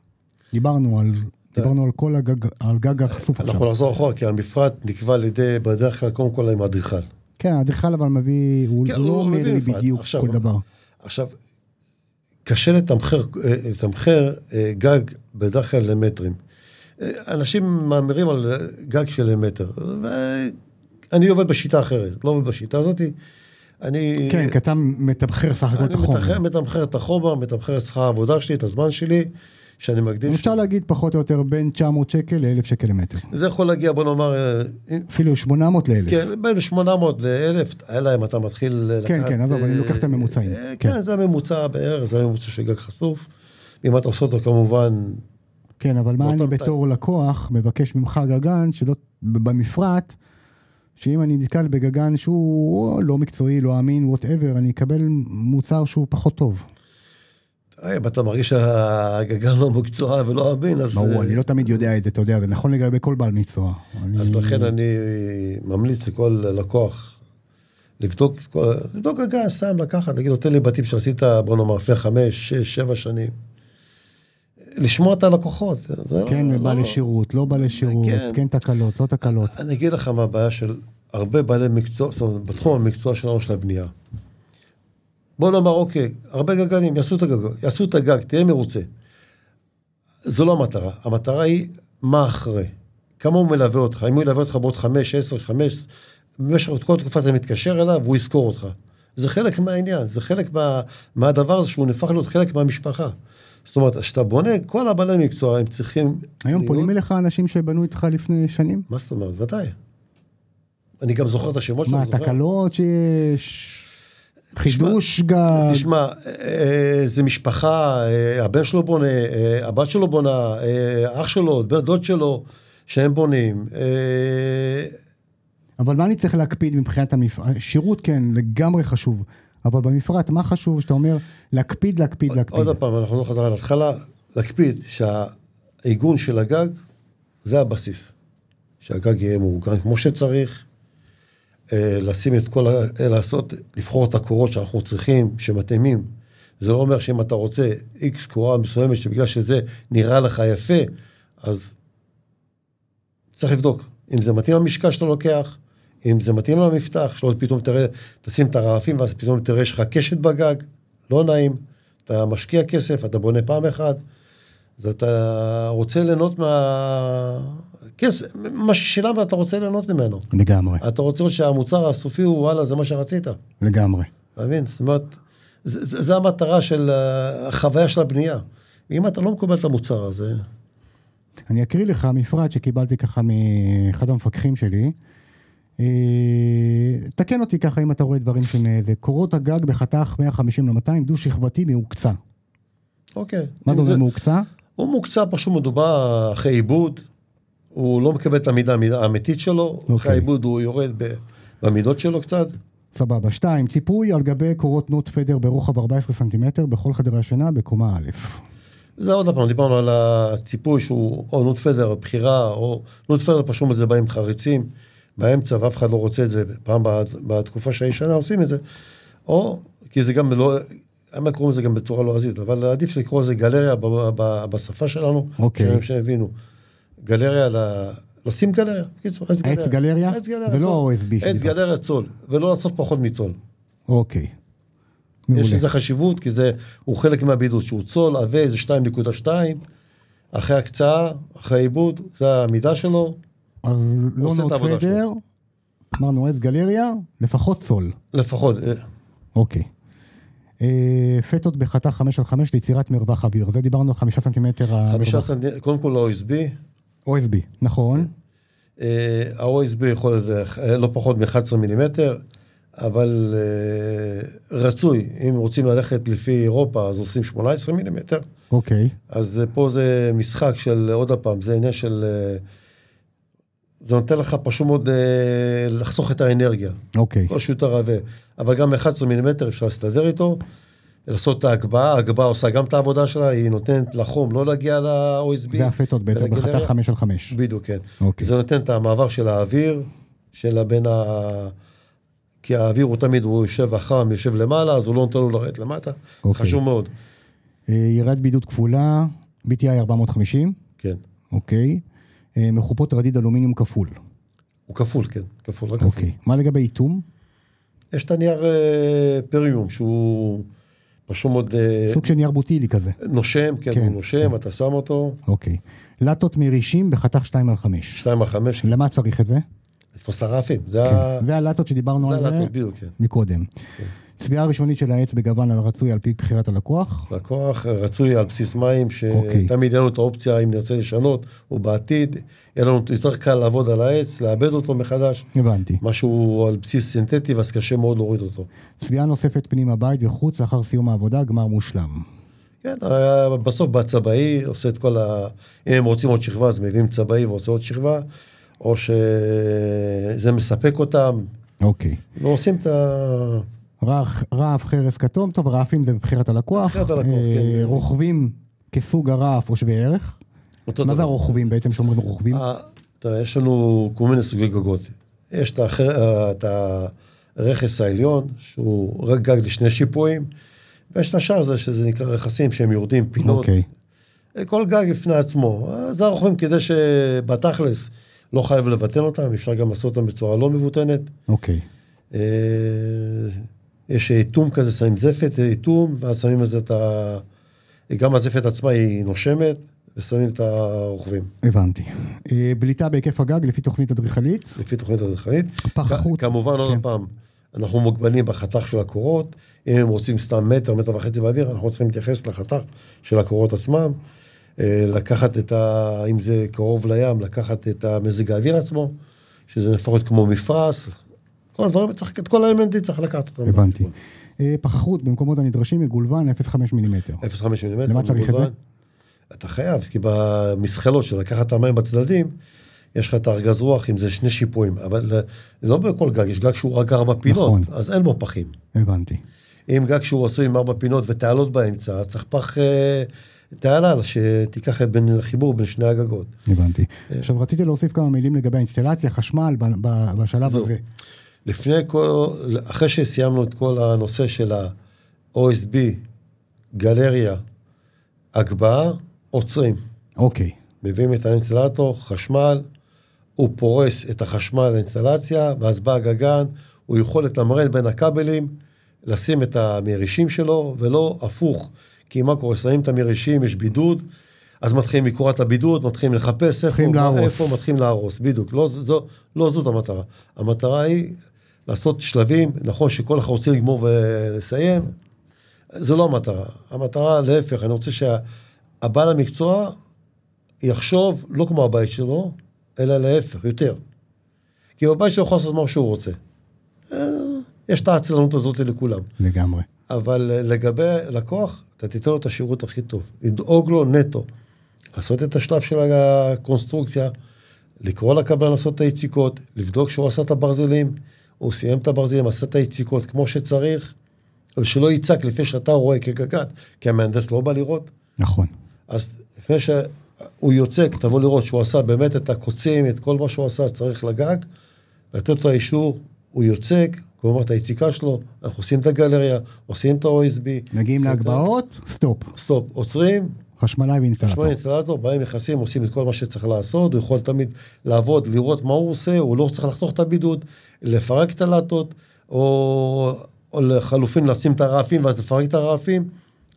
S1: דיברנו על... דיברנו על כל הגג, על גג החשוף עכשיו.
S2: אנחנו נחזור אחורה, כי המפרט נקבע על ידי, בדרך כלל, קודם כל עם האדריכל.
S1: כן, האדריכל אבל מביא, הוא,
S2: כן,
S1: הוא לא
S2: הוא
S1: אומר
S2: מביא
S1: לי
S2: מפרט.
S1: בדיוק
S2: עכשיו,
S1: כל דבר.
S2: עכשיו, קשה לתמחר, אה, לתמחר אה, גג בדרך כלל למטרים. אה, אנשים מהמרים על אה, גג של מטר, ואני עובד בשיטה אחרת, לא עובד בשיטה הזאת. אני...
S1: כן, כי אתה מתמחר סך הכל את
S2: אני
S1: החומר.
S2: מתמחר- מתמחר את החומר, מתמחר את שכר העבודה שלי, את הזמן שלי, שאני מקדיש.
S1: אפשר להגיד פחות או יותר בין 900 שקל ל-1,000 שקל למטר.
S2: זה יכול להגיע, בוא נאמר, אה, אם-
S1: אפילו 800 ל-1,000.
S2: כן, בין 800 ל-1,000, אלא אם אתה מתחיל אה, לקחת...
S1: כן, כן, עזוב,
S2: אה,
S1: אני לוקח את הממוצעים.
S2: אה,
S1: כן.
S2: כן, זה הממוצע בערך, זה הממוצע של גג חשוף. אם אתה עושה אותו כמובן,
S1: כן, אבל מה
S2: באותו
S1: אני
S2: מתי.
S1: בתור לקוח מבקש ממך גגן שלא, במפרט, שאם אני נתקל בגגן שהוא לא מקצועי, לא אמין, וואטאבר, אני אקבל מוצר שהוא פחות טוב.
S2: אה, אם אתה מרגיש שהגגן לא מקצוע ולא אמין, אז...
S1: ברור,
S2: אה,
S1: אני לא תמיד יודע את זה, אתה יודע, זה נכון לגבי כל בעל מקצוע. אני-
S2: אז לכן אני ממליץ לכל לקוח לבדוק, את כל- לבדוק הגז, סתם לקחת, להגיד, נותן לי בתים שעשית, בוא נאמר, לפני חמש, שש, שבע שנים. לשמוע את הלקוחות. זה לא-
S1: כן,
S2: לא-
S1: בא לשירות, לא בא לשירות,
S2: כן.
S1: כן תקלות, לא תקלות.
S2: אני אגיד לך מה הבעיה של הרבה בעלי מקצוע, זאת אומרת, בתחום המקצוע שלנו של הבנייה. בוא נאמר, אוקיי, הרבה גגנים יעשו את הגג, יעשו את הגג, תהיה מרוצה. זו לא המטרה, המטרה היא מה אחרי. כמה הוא מלווה אותך, אם הוא ילווה אותך בעוד חמש, עשר, חמש, במשך עוד כל תקופה אתה מתקשר אליו, הוא יזכור אותך. זה חלק מהעניין, זה חלק מה, מהדבר הזה שהוא נהפך להיות חלק מהמשפחה. זאת אומרת, כשאתה בונה, כל הבעלי מקצוע הם צריכים...
S1: היום
S2: להיות-
S1: פונים אליך אנשים שבנו איתך לפני שנים?
S2: מה זאת אומרת? ודאי. אני גם זוכר את השמות
S1: מה,
S2: שלהם, זוכר.
S1: תקלות שיש? חידוש גג?
S2: תשמע, אה, זה משפחה, אה, הבן שלו בונה, אה, הבת שלו בונה, אה, אח שלו, בן דוד שלו, שהם בונים. אה,
S1: אבל מה אני צריך להקפיד מבחינת המפרט? שירות כן, לגמרי חשוב. אבל במפרט, מה חשוב שאתה אומר להקפיד, להקפיד, להקפיד?
S2: עוד פעם, אנחנו נחזור חזרה להתחלה, להקפיד שהעיגון של הגג זה הבסיס. שהגג יהיה מאורגן כמו שצריך, אה, לשים את כל, ה- אה, לעשות, לבחור את הקורות שאנחנו צריכים, שמתאימים. זה לא אומר שאם אתה רוצה איקס קורה מסוימת, שבגלל שזה נראה לך יפה, אז צריך לבדוק אם זה מתאים למשקל שאתה לוקח, אם זה מתאים למפתח, שלא פתאום תראה, תשים את הרעפים ואז פתאום תראה שיש לך קשת בגג, לא נעים, אתה משקיע כסף, אתה בונה פעם אחת, אז אתה רוצה ליהנות מה... כסף, מה ששילמת אתה רוצה ליהנות ממנו.
S1: לגמרי,
S2: אתה רוצה שהמוצר הסופי הוא וואלה, זה מה שרצית, אתה
S1: לגמרי.
S2: מבין? זאת אומרת, זה, זה, זה המטרה של אה, החוויה של הבנייה. אם אתה לא מקבל את המוצר הזה,
S1: אני אקריא לך מפרט שקיבלתי ככה מאחד המפקחים שלי. אה, תקן אותי ככה אם אתה רואה דברים שזה. קורות הגג בחתך 150 ל-200 דו-שכבתי מהוקצה.
S2: אוקיי.
S1: מה
S2: אם
S1: זה אומר מהוקצה?
S2: הוא מוקצע פשוט מדובר אחרי עיבוד, הוא לא מקבל את המידה המידה האמיתית שלו, okay.
S1: אוקיי.
S2: אחרי העיבוד הוא יורד ב, במידות שלו קצת.
S1: סבבה. שתיים, ציפוי על גבי קורות נוט פדר ברוחב 14 סנטימטר בכל חדרי השינה בקומה א'.
S2: זה עוד פעם, דיברנו על הציפוי שהוא או נוט פדר, או בחירה, או נוט פדר פשוט מזה בא עם חריצים באמצע, ואף אחד לא רוצה את זה, פעם בת- בתקופה שהישנה עושים את זה, או, כי זה גם לא, האמת קוראים לזה גם בצורה לועזית, אבל עדיף לקרוא לזה גלריה ב, ב, בשפה שלנו,
S1: אוקיי.
S2: שהם- שהם הבינו. גלריה, ל... לשים גלריה, בקיצור, עץ
S1: עץ גלריה?
S2: עץ גלריה,
S1: ולא
S2: צול.
S1: OSB
S2: עץ
S1: שדיברת.
S2: גלריה צול, ולא לעשות פחות מצול.
S1: אוקיי.
S2: יש
S1: מעולה.
S2: לזה חשיבות, כי זה, הוא חלק מהבידוד, שהוא צול, עבה, זה 2.2, אחרי הקצאה, אחרי עיבוד, זה המידה שלו,
S1: אז לא
S2: עושה את
S1: נוט
S2: העבודה
S1: פדר,
S2: שלו.
S1: אמרנו עץ גלריה, לפחות סול.
S2: לפחות. אה,
S1: אוקיי. אה, פטות בחתך 5 על 5 ליצירת מרווח אוויר. זה דיברנו על 5 סנטימטר
S2: חמישה כן.
S1: המרווח.
S2: סנט... קודם כל ה-OSB,
S1: OSB, נכון.
S2: אה, ה-OSB יכול להיות אה, לא פחות מ-11 מילימטר, אבל אה, רצוי, אם רוצים ללכת לפי אירופה, אז עושים 18 מילימטר.
S1: אוקיי.
S2: אז אה, פה זה משחק של, אה, עוד פעם, זה עניין של... אה, זה נותן לך פשוט מאוד אה, לחסוך את האנרגיה.
S1: אוקיי.
S2: כל שוטר עבה, אבל גם 11 מילימטר אפשר להסתדר איתו. לעשות את ההגבהה, ההגבהה עושה גם את העבודה שלה, היא נותנת לחום לא להגיע ל-OSB.
S1: זה הפטות בעצם,
S2: ולגנריה-
S1: בחתך חמש על חמש.
S2: בדיוק, כן.
S1: אוקיי.
S2: זה נותן את המעבר של האוויר, של בין ה... כי האוויר הוא תמיד, הוא יושב החם, יושב למעלה, אז הוא לא נותן לו לרדת למטה.
S1: אוקיי.
S2: חשוב מאוד.
S1: אה, יריית בידוד כפולה, BTI 450,
S2: כן.
S1: אוקיי. אה, מחופות רדיד אלומיניום כפול.
S2: הוא כפול, כן. כפול, רק כפול.
S1: אוקיי. מה לגבי איטום?
S2: יש את הנייר אה, פריום, שהוא פשוט מאוד אה,
S1: סוג של נייר בוטילי כזה.
S2: נושם, כן,
S1: כן,
S2: הוא נושם, אתה שם אותו,
S1: אוקיי. לטות מרישים בחתך 2 על 5.
S2: 2 על 5,
S1: למה צריך את זה?
S2: לתפוס את הרעפים. זה ה...
S1: כן. זה הלטות שדיברנו
S2: אה. זה
S1: על זה
S2: הלטות, בדיוק, כן.
S1: מקודם. צביעה ראשונית של העץ בגוון על הרצוי על פי בחירת הלקוח.
S2: לקוח רצוי על בסיס מים,
S1: אוקיי.
S2: שתמיד יהיה לנו את האופציה, אם נרצה לשנות, או בעתיד, יהיה לנו יותר קל לעבוד על העץ, לעבד אותו מחדש.
S1: הבנתי.
S2: משהו על בסיס סינתטי, אז קשה מאוד להוריד אותו.
S1: צביעה נוספת פנים הבית וחוץ לאחר סיום העבודה, גמר מושלם.
S2: כן, אה, בסוף בא צבעי, עושה את כל ה... אם הם רוצים עוד שכבה, אז מביאים צבעי ועושה עוד שכבה, או שזה מספק אותם,
S1: אוקיי.
S2: ועושים את ה...
S1: רח, רעף, חרס, כתום, טוב, רעפים זה בבחירת הלקוח.
S2: בחירת הלקוח,
S1: אה,
S2: כן.
S1: רוכבים כסוג הרעף או שווה ערך.
S2: אותו
S1: מה זה
S2: דבר.
S1: הרוכבים בעצם שאומרים רוכבים?
S2: אה, תראה, יש לנו כל מיני סוגי גגות. יש את, האחר, אה, את הרכס העליון, שהוא רק גג לשני שיפועים, ויש את השאר הזה, שזה נקרא רכסים, שהם יורדים פינות.
S1: אוקיי.
S2: אה, כל גג בפני עצמו. אה, זה הרוכבים כדי שבתכלס לא חייב לבטן אותם, אפשר גם לעשות אותם בצורה לא מבוטנת.
S1: אוקיי.
S2: אה, יש איתום כזה, שמים זפת, איתום, ואז שמים על זה את ה... גם הזפת עצמה היא נושמת, ושמים את הרוכבים.
S1: הבנתי. אה, בליטה בהיקף הגג לפי תוכנית אדריכלית.
S2: לפי תוכנית אדריכלית.
S1: פח
S2: כ-
S1: חוט.
S2: כמובן, עוד
S1: כן.
S2: פעם, אנחנו מוגבלים בחתך של הקורות, אם הם רוצים סתם מטר, מטר וחצי באוויר, אנחנו צריכים להתייחס לחתך של הקורות עצמם, אה, לקחת את ה... אם זה קרוב לים, לקחת את המזג האוויר עצמו, שזה לפחות כמו מפרס, כל הדברים, צריך, את כל האלמנטים צריך לקחת אותם.
S1: הבנתי. אה, פחחות במקומות הנדרשים מגולבן 0.5 מילימטר.
S2: 0.5 מילימטר.
S1: למה צריך את
S2: כמובן.
S1: זה?
S2: אתה חייב, כי במזחלות של לקחת את המים בצדדים, יש לך את הארגז רוח, אם זה שני שיפועים, אבל אה, לא בכל גג, יש גג שהוא רק ארבע פינות,
S1: נכון.
S2: אז אין בו פחים.
S1: הבנתי.
S2: אם גג שהוא עשוי עם ארבע פינות ותעלות באמצע, אז צריך פח אה, תעלה שתיקח את בין- החיבור בין שני הגגות.
S1: הבנתי.
S2: אה.
S1: עכשיו רציתי להוסיף כמה מילים לגבי האינסטלציה, חשמל ב- ב- בשלב
S2: זהו.
S1: הזה.
S2: לפני כל, אחרי שסיימנו את כל הנושא של ה-OSB, גלריה, הגבהה, עוצרים.
S1: אוקיי.
S2: מביאים את האינסטלטור, חשמל, הוא פורס את החשמל לאינסטלציה, ואז בא הגגן, הוא יכול לתמרן בין הכבלים, לשים את המרישים שלו, ולא הפוך. כי מה קורה? שמים את המרישים, יש בידוד, אז מתחילים לקרוע את הבידוד, מתחילים לחפש איפה,
S1: מתחילים
S2: מה,
S1: להרוס.
S2: איפה, מתחילים להרוס, בדיוק. לא, ז- זו, לא זאת המטרה. המטרה היא לעשות שלבים, נכון שכל אחד רוצה לגמור ולסיים, זו לא המטרה. המטרה, להפך, אני רוצה שהבעל המקצוע יחשוב לא כמו הבית שלו, אלא להפך, יותר. כי בבית שלו יכול לעשות מה שהוא רוצה. אה, יש את העצלנות הזאת לכולם.
S1: לגמרי.
S2: אבל אה, לגבי לקוח, אתה תיתן לו את השירות הכי טוב. לדאוג לו נטו. לעשות את השלב של הקונסטרוקציה, לקרוא לקבלן לעשות את היציקות, לבדוק שהוא עשה את הברזלים, הוא סיים את הברזלים, עשה את היציקות כמו שצריך, אבל שלא יצעק לפני שאתה רואה כגגת, כי המהנדס לא בא לראות.
S1: נכון.
S2: אז לפני שהוא יוצק, תבוא לראות שהוא עשה באמת את הקוצים, את כל מה שהוא עשה, צריך לגג, לתת לו את האישור, הוא יוצק, כלומר את היציקה שלו, אנחנו עושים את הגלריה, עושים את ה-OSB.
S1: מגיעים
S2: עושים את
S1: להגבהות, סטופ.
S2: ה- סטופ, עוצרים,
S1: חשמלאי
S2: שמונה
S1: ואינסטלטור.
S2: אינסטלטור, באים נכנסים, עושים את כל מה שצריך לעשות, הוא יכול תמיד לעבוד, לראות מה הוא עושה, הוא לא צריך לחתוך את הבידוד, לפרק את הלטות, או, או לחלופין לשים את הרעפים ואז לפרק את הרעפים,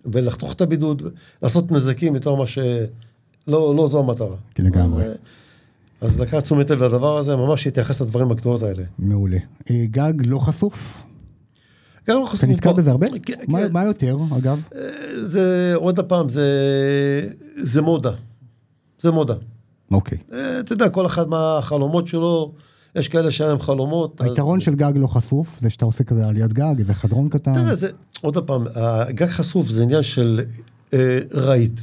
S2: ולחתוך את הבידוד, לעשות נזקים יותר מה ש... לא, לא זו המטרה.
S1: כן, לגמרי.
S2: אז, אז לקחת תשומת לב לדבר הזה, ממש להתייחס לדברים הקטנות האלה.
S1: מעולה. אה, גג לא חשוף?
S2: גם לא
S1: אתה
S2: חשופים
S1: נתקל
S2: פה-
S1: בזה הרבה?
S2: כן,
S1: מה-
S2: כן. אה,
S1: מה יותר, אגב?
S2: זה, עוד פעם, זה, זה מודה. זה מודה.
S1: אוקיי.
S2: אה, אתה יודע, כל אחד מה החלומות שלו, יש כאלה שאין להם חלומות. אז-
S1: היתרון של גג לא חשוף, זה שאתה עושה כזה עליית גג, איזה חדרון קטן.
S2: תראה, זה, עוד פעם, אה, הגג חשוף זה עניין של אה, רהיט.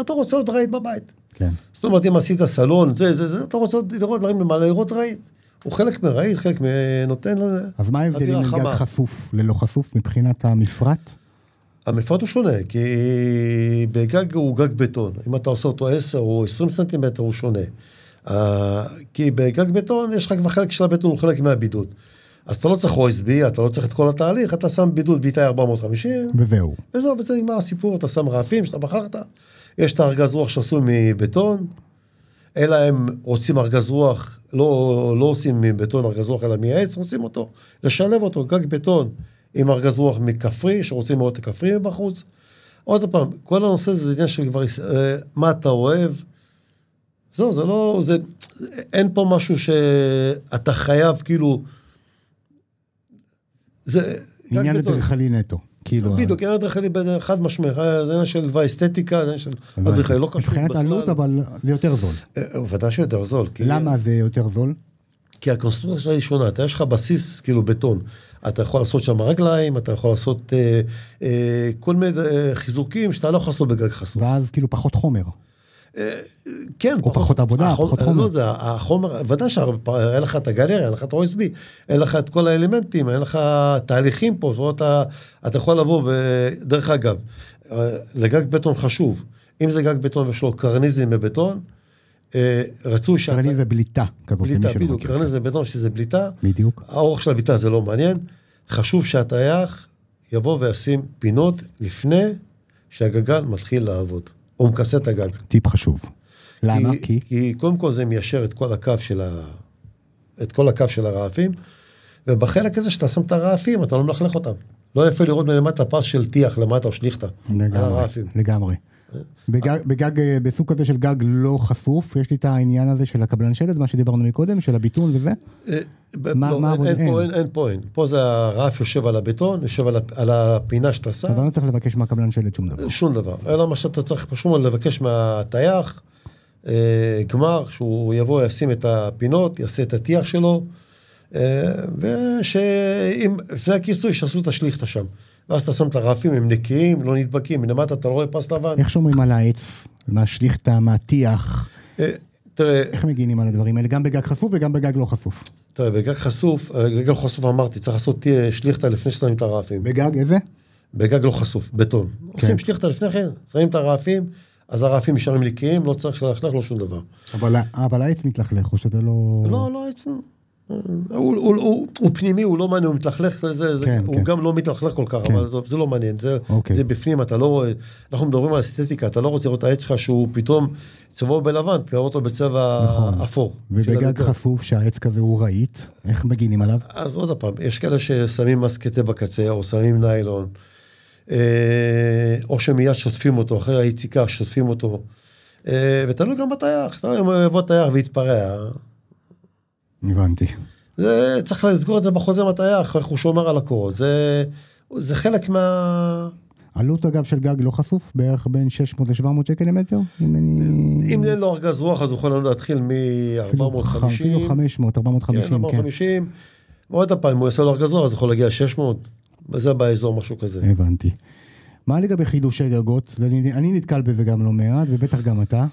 S2: אתה רוצה עוד רהיט בבית.
S1: כן.
S2: זאת אומרת, אם עשית סלון, זה, זה, זה, אתה רוצה עוד לראות דברים למעלה, לראות רהיט. הוא חלק מרהיט, חלק מ- נותן... ל-
S1: אז מה ההבדלים
S2: אווירה
S1: בין גג
S2: חמה.
S1: חשוף ללא חשוף מבחינת המפרט?
S2: המפרט הוא שונה, כי בגג הוא גג בטון. אם אתה עושה אותו 10 או 20 סנטימטר, הוא שונה. אה, כי בגג בטון יש לך כבר חלק של הבטון, הוא חלק מהבידוד. אז אתה לא צריך OSB, אתה לא צריך את כל התהליך, אתה שם בידוד באיתי 450,
S1: וזהו.
S2: וזהו, בזה נגמר הסיפור, אתה שם רעפים שאתה בחרת, יש את הארגז רוח שעשוי מבטון, אלא הם רוצים ארגז רוח, לא, לא עושים מבטון ארגז רוח אלא מעץ, רוצים אותו, לשלב אותו, גג בטון עם ארגז רוח מכפרי, שרוצים מאוד את הכפרי מבחוץ. עוד פעם, כל הנושא הזה זה עניין של כבר, אה, מה אתה אוהב. זהו, זה לא, זה, אין פה משהו שאתה חייב, כאילו, זה... גג
S1: עניין
S2: בטון.
S1: אדריכלי נטו. כאילו,
S2: בדיוק, אין אדריכלי בין- חד משמעי, זה עניין של ואסתטיקה, זה עניין של
S1: אה, הבנתי.
S2: אדריכלי, לא קשור
S1: מבחינת עלות, אבל זה יותר זול.
S2: אה, ודאי שיותר זול. כי-
S1: למה זה יותר זול?
S2: כי הקונסטרוקציה שלה היא שונה, אתה יש לך בסיס כאילו בטון. אתה יכול לעשות שם רגליים, אתה יכול לעשות אה, אה, כל מיני אה, חיזוקים שאתה לא יכול לעשות בגג חסום.
S1: ואז כאילו פחות חומר.
S2: כן,
S1: או פחות עבודה, פחות חומר.
S2: לא, זה החומר, ודאי שאין לך את הגלריה, אין לך את ה-OSB, אין לך את כל האלמנטים, אין לך תהליכים פה, זאת אומרת, אתה, אתה יכול לבוא, ודרך אגב, אה, זה גג בטון חשוב. אם זה גג בטון ויש לו קרניזם בבטון, אה, רצוי שאתה...
S1: קרני זה בליטה כזאת, למי
S2: בליטה,
S1: שלא
S2: בדיוק,
S1: מכיר. כן.
S2: קרניזם בטון שזה בליטה.
S1: בדיוק.
S2: האורך של הבליטה זה לא מעניין, חשוב שהטייח יבוא וישים פינות לפני שהגגן מתחיל לעבוד, או מכסה את הגג.
S1: טיפ חשוב. למה? כי?
S2: כי קודם כל זה מיישר את כל הקו של ה... את כל הקו של הרעפים, ובחלק הזה שאתה שם את הרעפים, אתה לא מלכלך אותם. לא יפה לראות מלמטה פס של טיח למטה או שליכטה. על
S1: לגמרי,
S2: הרעפים.
S1: לגמרי.
S2: אה.
S1: בגג, בגג, אה, בסוג כזה של גג לא חשוף, יש לי את העניין הזה של הקבלן שלד, מה שדיברנו מקודם, של הביטון וזה.
S2: אה, ב-
S1: מה-
S2: לא,
S1: מה
S2: אין- אין
S1: עבודה?
S2: פה,
S1: אין.
S2: אין- אין פה, אין. פה זה הרעף יושב על הבטון, יושב על ה- על הפינה שאתה שם.
S1: אז אני לא צריך לבקש מהקבלן שלד שום דבר.
S2: שום דבר, אלא מה שאתה צריך פשוט מאוד לבקש מהטייח, אה, גמר, שהוא יבוא, ישים את הפינות, יעשה את הטיח שלו, אה, ושאם, לפני הכיסוי, שיעשו את השליכתה שם. ואז אתה שם את הרעפים, הם נקיים, לא נדבקים, מלמטה אתה לא רואה פס לבן.
S1: איך שומרים על העץ, מהשליכטה, מהטיח,
S2: אה, תראה,
S1: איך מגינים על הדברים האלה, גם בגג חשוף וגם בגג לא חשוף.
S2: תראה, בגג חשוף, אה, בגג לא חשוף אמרתי, צריך לעשות אה, שליכתה לפני ששמים את הרעפים.
S1: בגג איזה?
S2: בגג לא חשוף, בטון. עושים שליכתה לפני כן, שמים את הרעפים, אז הרעפים נשארים נקיים, לא צריך ללכלך, לא שום דבר.
S1: אבל, ה- אבל העץ מתלכלך, או שזה לא...
S2: לא, לא, עצם... הוא, הוא, הוא, הוא פנימי, הוא לא מעניין, הוא מתלכלך, זה, זה,
S1: כן,
S2: כן, הוא
S1: כן.
S2: גם לא מתלכלך כל כך,
S1: כן.
S2: כן. אבל זה, זה לא מעניין, זה,
S1: אוקיי.
S2: זה בפנים, אתה לא רואה, אנחנו מדברים על אסתטיקה, אתה לא רוצה לראות את העץ שלך שהוא פתאום צבעו בלבן, תראה אותו בצבע
S1: נכון.
S2: אפור. של
S1: ובגג
S2: הביטון.
S1: חשוף שהעץ כזה הוא רהיט, איך מגינים עליו?
S2: אז עוד פעם, יש כאלה ששמים מסקטה בקצה, או שמים ניילון, אה, או שמיד שוטפים אותו, אחרי היציקה שוטפים אותו, אה, ותלוי גם בטייח, אתה יודע, אם יבוא טייח ויתפרע,
S1: הבנתי.
S2: זה, צריך לסגור את זה בחוזה מטייח, איך הוא שומר על הקורות. זה, זה חלק מה...
S1: עלות אגב של גג לא חשוף, בערך בין 600 ל-700 שקל למטר, אם אני...
S2: אם אין לו ארגז רוח, אז הוא יכול לנו להתחיל
S1: אפילו ח-
S2: מ-450.
S1: אפילו 500, 450, כן.
S2: 450. ועוד פעם, אם הוא יעשה לו ארגז רוח, אז יכול להגיע ל-600. וזה באזור משהו כזה.
S1: הבנתי. מה לגבי חידושי גגות? אני, אני נתקל בזה גם לא מעט, ובטח גם אתה.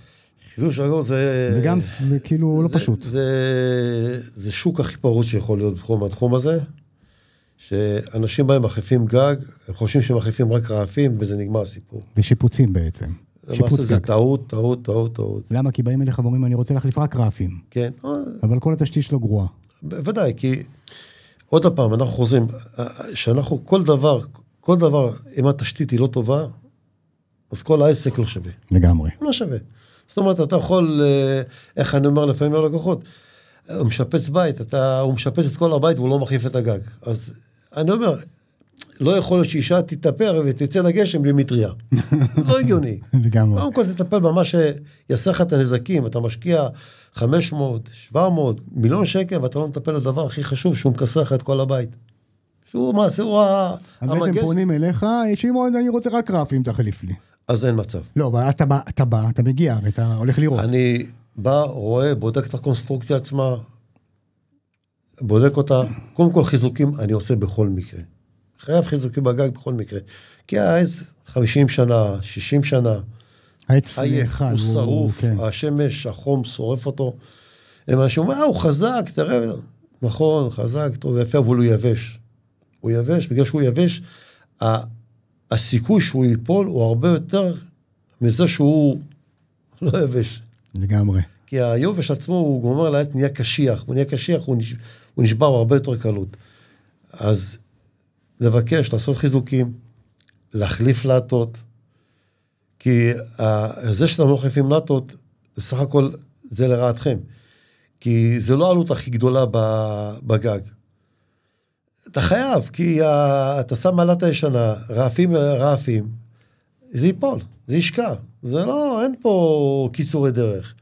S2: חידוש ארגז זה...
S1: זה גם, זה כאילו לא
S2: זה-
S1: פשוט.
S2: זה, זה שוק הכי פרוץ שיכול להיות בתחום התחום הזה. שאנשים בהם מחליפים גג, הם חושבים שהם מחליפים רק רעפים, וזה נגמר הסיפור.
S1: בשיפוצים בעצם.
S2: למעשה
S1: שיפוץ
S2: זה
S1: גג.
S2: טעות, טעות, טעות, טעות.
S1: למה? כי באים אליך ואומרים, אני רוצה להחליף רק רעפים.
S2: כן. אה,
S1: אבל כל התשתית שלו גרועה.
S2: בוודאי, כי עוד פעם, אנחנו חוזרים, שאנחנו כל דבר, כל דבר, אם התשתית היא לא טובה, אז כל העסק לא שווה.
S1: לגמרי.
S2: הוא לא שווה. זאת אומרת, אתה יכול, אה, איך אני אומר לפעמים ללקוחות, אה, הוא משפץ בית, אתה, הוא משפץ את כל הבית והוא לא מחליף את הגג. אז אני אומר, לא יכול להיות שאישה תתאפר ותצא לגשם בלי מטריה. לא הגיוני.
S1: לגמרי.
S2: קודם כל תטפל במה שיעשה לך את הנזקים, אתה משקיע 500, 700, מיליון שקל, ואתה לא מטפל בדבר הכי חשוב, שהוא מכסה לך את כל הבית. שהוא מעשה, הוא ה-
S1: אז בעצם
S2: המגן,
S1: פונים אליך, "אה, שמעון, אני רוצה רק רעפים, תחליף לי.
S2: אז אין מצב.
S1: לא, אבל אתה בא, אתה בא, אתה מגיע, ואתה הולך לראות.
S2: אני בא, רואה, בודק את הקונסטרוקציה עצמה, בודק אותה. קודם כל חיזוקים אני עושה בכל מקרה. חייב חיזוקים בגג בכל מקרה. כי העץ 50 שנה, 60 שנה,
S1: העץ
S2: עייף,
S1: נאכל,
S2: הוא שרוף,
S1: כן.
S2: השמש, החום שורף אותו. הם אנשים אומרים, אה, הוא חזק, תראה, נכון, חזק, טוב, יפה, אבל הוא יבש. הוא יבש, בגלל שהוא יבש, ה- הסיכוי שהוא ייפול הוא הרבה יותר מזה שהוא לא יבש.
S1: לגמרי.
S2: כי היובש עצמו, הוא גומר לאט, נהיה קשיח. הוא נהיה קשיח, הוא, נש... הוא נשבר בהרבה יותר קלות. אז לבקש, לעשות חיזוקים, להחליף להטות, כי ה- זה שאתם לא מחליפים להטות, סך הכל זה לרעתכם. כי זה לא העלות הכי גדולה ב- בגג. אתה חייב, כי ה- אתה שם מעלת הישנה, רעפים, רעפים, זה ייפול, זה ישקע. זה לא, אין פה קיצורי דרך.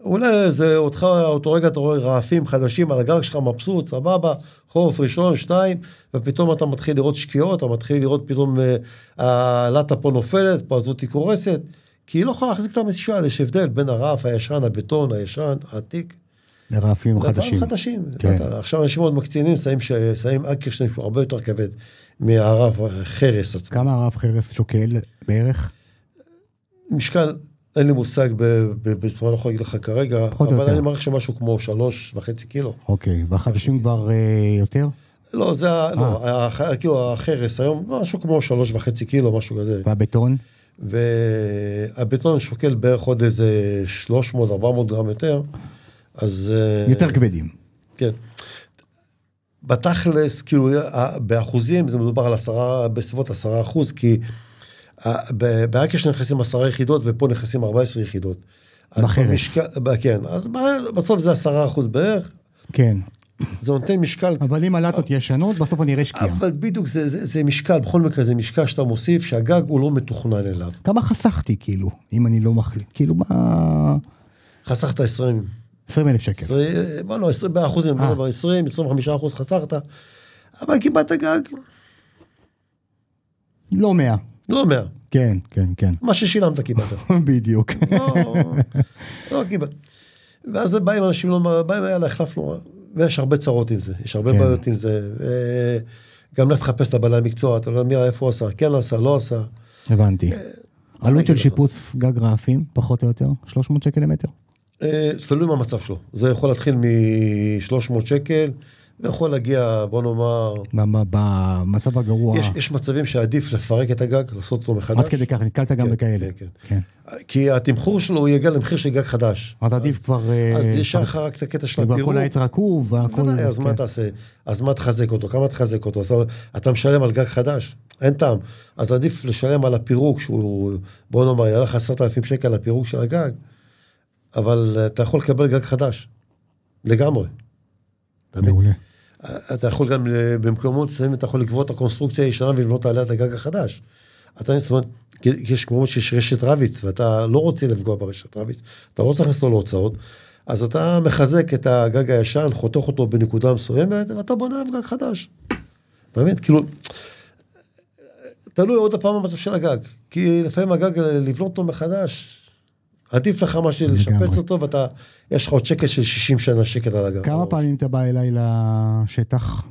S2: אולי זה אותך, אותו רגע אתה רואה רעפים חדשים על הגג שלך, מבסוט, סבבה, חורף ראשון, שתיים, ופתאום אתה מתחיל לראות שקיעות, אתה מתחיל לראות פתאום אה, הלטה פה נופלת, פה הזאתי קורסת, כי היא לא יכולה להחזיק את המסישה, יש הבדל בין הרעף הישן, הבטון, הישן, העתיק.
S1: לרעפים החדשים.
S2: לדברים חדשים.
S1: כן.
S2: אתה, עכשיו אנשים מאוד מקצינים, שמים, ש... שמים אקרשטיין שהוא הרבה יותר כבד מהרעף חרס עצמו.
S1: כמה הרב חרס שוקל בערך?
S2: משקל, אין לי מושג ב- ב- בצורה, לא יכול להגיד לך כרגע,
S1: פחות או
S2: אבל
S1: יותר.
S2: אני מעריך שמשהו כמו שלוש וחצי קילו.
S1: אוקיי, והחדשים כבר אה, יותר?
S2: לא, זה, ה- לא,
S1: אה.
S2: ה- כאילו החרס היום, משהו כמו שלוש וחצי קילו, משהו כזה.
S1: והבטון?
S2: והבטון שוקל בערך עוד איזה 300-400 גרם יותר, אז... אה,
S1: יותר כבדים.
S2: כן. בתכלס, כאילו, ה- באחוזים זה מדובר על עשרה, בסביבות עשרה אחוז, כי ה- ב- באקש נכנסים עשרה יחידות ופה נכנסים 14 יחידות. אז
S1: בחרס.
S2: במשקל- ב- כן, אז ב- בסוף זה עשרה אחוז בערך,
S1: כן,
S2: זה נותן משקל,
S1: אבל אם הלטות ישנות, בסוף אני אראה שקיעה.
S2: אבל בדיוק זה, זה, זה משקל, בכל מקרה זה משקל שאתה מוסיף, שהגג הוא לא מתוכנן אליו.
S1: כמה חסכתי, כאילו, אם אני לא מחליט? כאילו, מה...
S2: חסכת 20,
S1: 20 אלף שקל.
S2: 20, בוא לא, 20 באחוזים, בוא
S1: כן. אה.
S2: נאמר 20, 25 אחוז חסכת, אבל קיבלת גג,
S1: לא 100.
S2: לא 100,
S1: כן, כן, כן.
S2: מה ששילמת קיבלת.
S1: בדיוק.
S2: לא, לא קיבל. ואז באים אנשים, לא, באים, יאללה, החלפנו, ויש הרבה צרות עם זה, יש הרבה
S1: כן.
S2: כן. בעיות עם זה. אה, גם לך תחפש את הבעלי מקצוע, אתה לא יודע מי, איפה הוא עשה, כן עשה, לא עשה.
S1: הבנתי.
S2: אה,
S1: עלות של
S2: נגיד לך.
S1: שיפוץ גג רעפים, פחות או יותר, 300 שקל למטר.
S2: אה, תלוי מה המצב שלו. זה יכול להתחיל מ-300 שקל, ויכול להגיע, בוא נאמר,
S1: מה- מה- במצב הגרוע.
S2: יש, יש מצבים שעדיף לפרק את הגג, לעשות אותו מחדש.
S1: עד כדי כך, נתקלת גם
S2: כן,
S1: בכאלה.
S2: כן, כן.
S1: כן.
S2: כי התמחור שלו, הוא יגיע למחיר של גג חדש.
S1: אז עדיף כבר... אה,
S2: אז ישר
S1: כבר-
S2: לך רק את הקטע של
S1: כבר
S2: הפירוק.
S1: כל העץ רקוב, והכל...
S2: בוודאי, אז מה
S1: כן.
S2: תעשה? אז מה תחזק אותו? כמה תחזק אותו? אז אתה- אתה משלם על גג חדש, אין טעם. אז עדיף לשלם על הפירוק שהוא, בוא נאמר, יעלה לך עשרת אלפים שקל על הפירוק של הגג, אבל אה, אתה יכול לקבל גג חדש, לגמרי. אתה מבין?
S1: מעולה.
S2: אתה יכול גם, ל- במקומות מסוימים אתה יכול לקבוע את הקונסטרוקציה הישנה ולבנות עליה את הגג החדש. אתה, זאת אומרת, כי- כי יש מקומות שיש רשת רביץ, ואתה לא רוצה לפגוע ברשת רביץ, אתה לא צריך לעשות לו להוצאות, אז אתה מחזק את הגג הישן, חותך אותו בנקודה מסוימת, ואתה בונה עליו גג חדש. אתה מבין? כאילו, תלוי עוד הפעם במצב של הגג, כי לפעמים הגג, אה, לבנות אותו מחדש, עדיף לך מה
S1: לגמרי.
S2: שלשפץ אותו, ואתה, יש לך עוד שקל של 60 שנה שקל על הגג.
S1: כמה פעמים אתה בא אליי לשטח?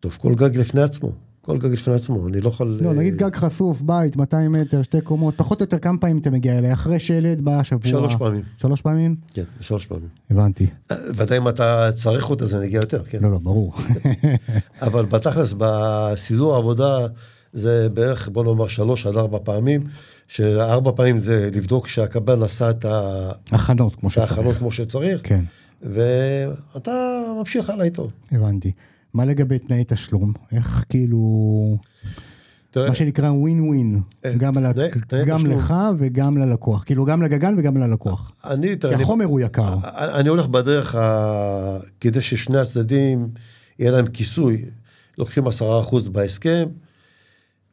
S2: טוב, כל גג לפני עצמו. כל גג לפני עצמו, אני לא יכול...
S1: לא,
S2: אה,
S1: נגיד גג חשוף, בית, 200 מטר, שתי קומות, פחות או יותר כמה פעמים אתה מגיע אליי? אחרי שלד בשבוע?
S2: שלוש פעמים.
S1: שלוש פעמים?
S2: כן, שלוש פעמים.
S1: הבנתי.
S2: אה, ודאי אם אתה צריך אותה, זה נגיע יותר, כן.
S1: לא, לא, ברור.
S2: אבל בתכלס, בסידור העבודה, זה בערך, בוא נאמר, שלוש עד ארבע פעמים, שארבע פעמים זה לבדוק שהקבלן עשה את ה-
S1: הכנות, כמו
S2: את ההכנות
S1: שצריך.
S2: כמו שצריך,
S1: כן,
S2: ואתה ממשיך הלאה איתו.
S1: הבנתי. מה לגבי תנאי תשלום? איך כאילו,
S2: תראה,
S1: מה שנקרא ווין ווין,
S2: אה,
S1: גם על ה-
S2: תנאי- תנאי
S1: גם
S2: תשלום.
S1: לך וגם ללקוח. כאילו, גם לגגן וגם ללקוח.
S2: אני, תראה,
S1: כי
S2: אני- אה,
S1: החומר הוא יקר.
S2: אני אני הולך בדרך ה... כדי ששני הצדדים יהיה להם כיסוי. לוקחים 10% בהסכם,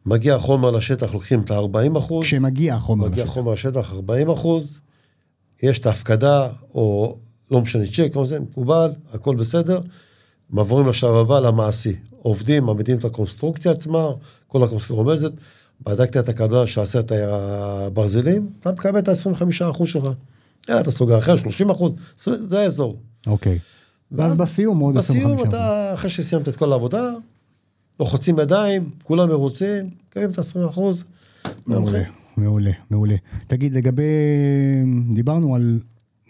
S2: מגיע החומר לשטח, לוקחים את ה-40%,
S1: כשמגיע החומר
S2: אה, מגיע
S1: לשטח.
S2: החומר לשטח 40%, יש את ההפקדה, או לא משנה, צ'ק, כל זה מקובל, הכל בסדר. מעברים לשלב הבא, למעשי. עובדים, מעמידים את הקונסטרוקציה עצמה, כל הקונסטרוקציה עומדת. בדקת את הקבלן שעשה את הברזלים, אתה מקבל את ה-25% שלך. יאללה, אתה סוגר אחר, 30%, זה האזור.
S1: אוקיי. ואז בסיום עוד 25%.
S2: בסיום אתה, אחרי שסיימת את כל העבודה, לוחצים ידיים, כולם מרוצים, מקבלים את ה-20%.
S1: מעולה, מעולה, מעולה. תגיד, לגבי... דיברנו על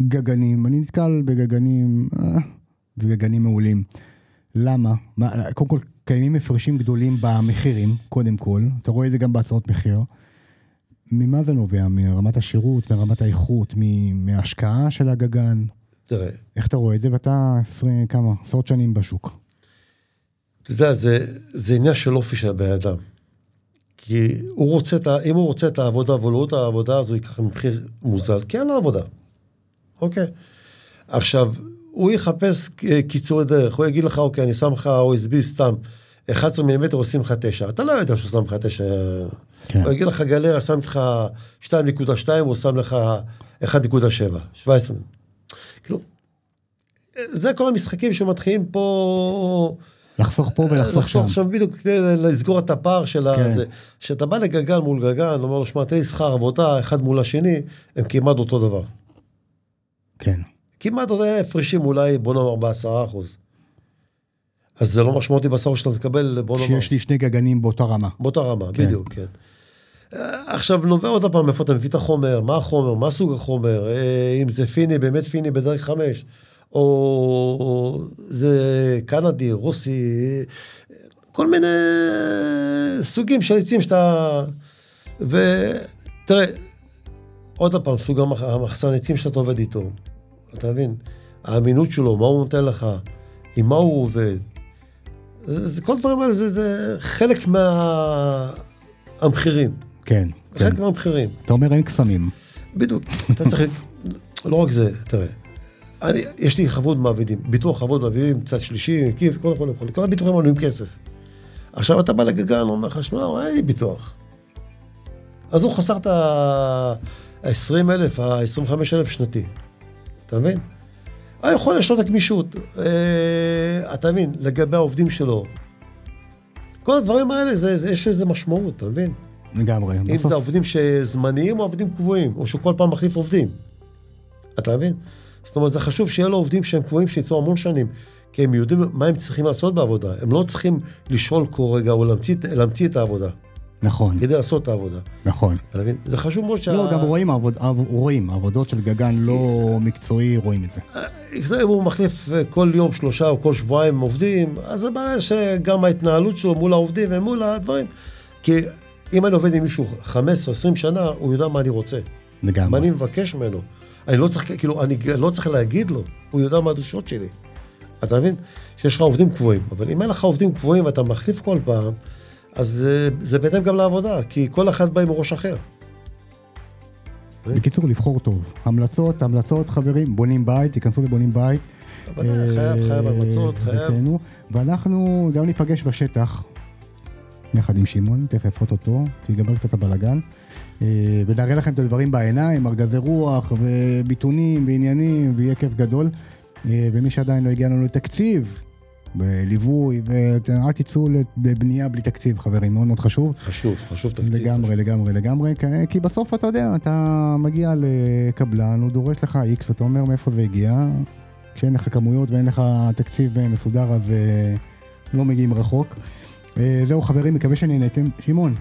S1: גגנים, אני נתקל בגגנים, אה, בגגנים מעולים. למה? מה, קודם כל, קיימים הפרשים גדולים במחירים, קודם כל, אתה רואה את זה גם בהצעות מחיר. ממה זה נובע? מרמת השירות, מרמת האיכות, מ- מההשקעה של הגגן?
S2: תראה,
S1: איך אתה רואה את זה? ואתה עשרים, כמה, עשרות שנים בשוק.
S2: אתה יודע, זה, זה עניין של אופי של הבן אדם. כי הוא רוצה, את ה- אם הוא רוצה את העבודה, אבל לא את העבודה, אז הוא ייקח מחיר מוזל, כי אין לו עבודה. אוקיי. עכשיו, הוא יחפש אה, קיצורי דרך, הוא יגיד לך, אוקיי, אני שם לך OSB סתם, 11 מילימטר עושים לך 9. אתה לא יודע שהוא שם לך 9.
S1: כן.
S2: הוא יגיד לך, גלריה, שם לך 2.2, הוא שם לך 1.7, 17. כאילו, זה כל המשחקים שמתחילים פה...
S1: לחסוך פה ולחסוך שם.
S2: לחסוך שם אה, בדיוק כדי לסגור את הפער של
S1: כן.
S2: הזה. כשאתה בא לגגן מול גגן, אומר לו, שמע, תן לי שכר עבודה, אחד מול השני, הם כמעט אותו דבר.
S1: כן.
S2: כמעט אותו אה, הפרשים אולי, בוא נאמר, בעשרה אחוז. אז זה לא משמעותי בסוף שאתה תקבל, בוא נאמר,
S1: כשיש לי שני גגנים באותה רמה.
S2: באותה רמה,
S1: כן.
S2: בדיוק, כן. אה, עכשיו, נובע עוד פעם איפה אתה מביא את החומר, מה החומר, מה סוג החומר, אה, אם זה פיני, באמת פיני בדרך חמש, או, או זה קנדי, רוסי, אה, כל מיני סוגים של עצים שאתה... ותראה, עוד פעם, סוג המח- המחסן עצים שאתה עובד איתו, אתה מבין? האמינות שלו, מה הוא נותן לך, עם מה הוא עובד. זה, זה, כל הדברים האלה זה, זה חלק מהמחירים.
S1: כן. כן.
S2: חלק מהמחירים.
S1: אתה אומר אין קסמים.
S2: בדיוק. אתה צריך... לא רק זה, תראה. אני, יש לי חוות מעבידים, ביטוח חוות מעבידים, צד שלישי, מקיף, כל הכל, כל, כל הביטוחים עולים כסף. עכשיו אתה בא לגגן, הוא אומר לך, שמע, הוא היה לי ביטוח. אז הוא חסך את ה-20 אלף, ה-25 אלף שנתי. אתה מבין? הוא יכול, יש לו את הגמישות. אה, אתה מבין? לגבי העובדים שלו. כל הדברים האלה, זה, זה, יש לזה משמעות, אתה מבין?
S1: לגמרי.
S2: אם
S1: בסוף-
S2: זה עובדים שזמניים או עובדים קבועים, או שהוא כל פעם מחליף עובדים. אתה מבין? זאת אומרת, זה חשוב שיהיה לו עובדים שהם קבועים, שיצאו המון שנים. כי הם יודעים מה הם צריכים לעשות בעבודה. הם לא צריכים לשאול כל רגע או להמציא, להמציא את העבודה,
S1: נכון,
S2: כדי לעשות את העבודה.
S1: נכון.
S2: אתה מבין? זה חשוב מאוד שה...
S1: לא, גם רואים, עבוד- עב- רואים, עבודות של גגן לא מקצועי, רואים את זה.
S2: אם הוא מחליף אה, כל יום שלושה או כל שבועיים עובדים, אז זה בעיה שגם ההתנהלות שלו מול העובדים ומול הדברים. כי אם אני עובד עם מישהו 15-20 שנה, הוא יודע מה אני רוצה. מה
S1: לגמרי.
S2: אני מבקש ממנו? אני לא צריך, כאילו, אני לא צריך להגיד לו, הוא יודע מה הדרישות שלי. אתה מבין? שיש לך עובדים קבועים, אבל אם אין לך עובדים קבועים ואתה מחליף כל פעם, אז זה, זה בהתאם גם לעבודה, כי כל אחד בא עם ראש אחר.
S1: בקיצור, לבחור טוב. המלצות, המלצות, חברים, בונים בית, תיכנסו לבונים בית.
S2: אבל חייב, חייב
S1: אה,
S2: המלצות, חייב.
S1: ותהנו. ואנחנו גם ניפגש בשטח, יחד עם שמעון, תכף אוטוטו, שיגמר קצת הבלאגן. אה, ונראה לכם את הדברים בעיניים, ארגזי רוח, וביטונים, ועניינים, ויהיה כיף גדול. אה, ומי שעדיין לא הגיע לנו לתקציב, בליווי, ואל תצאו לבנייה בלי תקציב, חברים, מאוד מאוד חשוב.
S2: חשוב, חשוב תקציב.
S1: לגמרי, לגמרי, לגמרי, כי- כי בסוף אתה יודע, אתה מגיע לקבלן, הוא דורש לך איקס, אתה אומר מאיפה זה הגיע, כשאין לך כמויות ואין לך תקציב אה, מסודר, אז אה, לא מגיעים רחוק. אה, זהו חברים, מקווה שנהנתם. שמעון,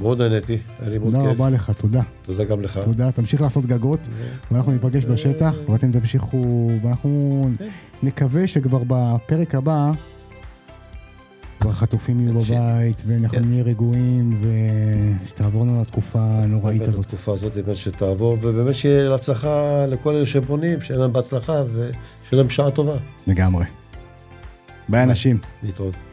S2: מאוד נהניתי, היה לי מאוד
S1: תודה
S2: כיף.
S1: רבה לך, תודה.
S2: תודה גם לך.
S1: לא, תודה, תמשיך לעשות גגות, ואנחנו ניפגש בשטח, ואתם תמשיכו, ואנחנו
S2: כן.
S1: נקווה שכבר בפרק הבא, כבר חטופים יהיו
S2: אנשים.
S1: בבית, ואנחנו
S2: כן.
S1: נהיה רגועים, ושתעברנו לתקופה הנוראית
S2: באמת,
S1: הזאת.
S2: התקופה הזאת באמת שתעבור, ובאמת שיהיה להצלחה לכל אלה שבונים, שיהיה להם בהצלחה ושיהיה להם שעה טובה.
S1: לגמרי. ביי אנשים.
S2: להתראות.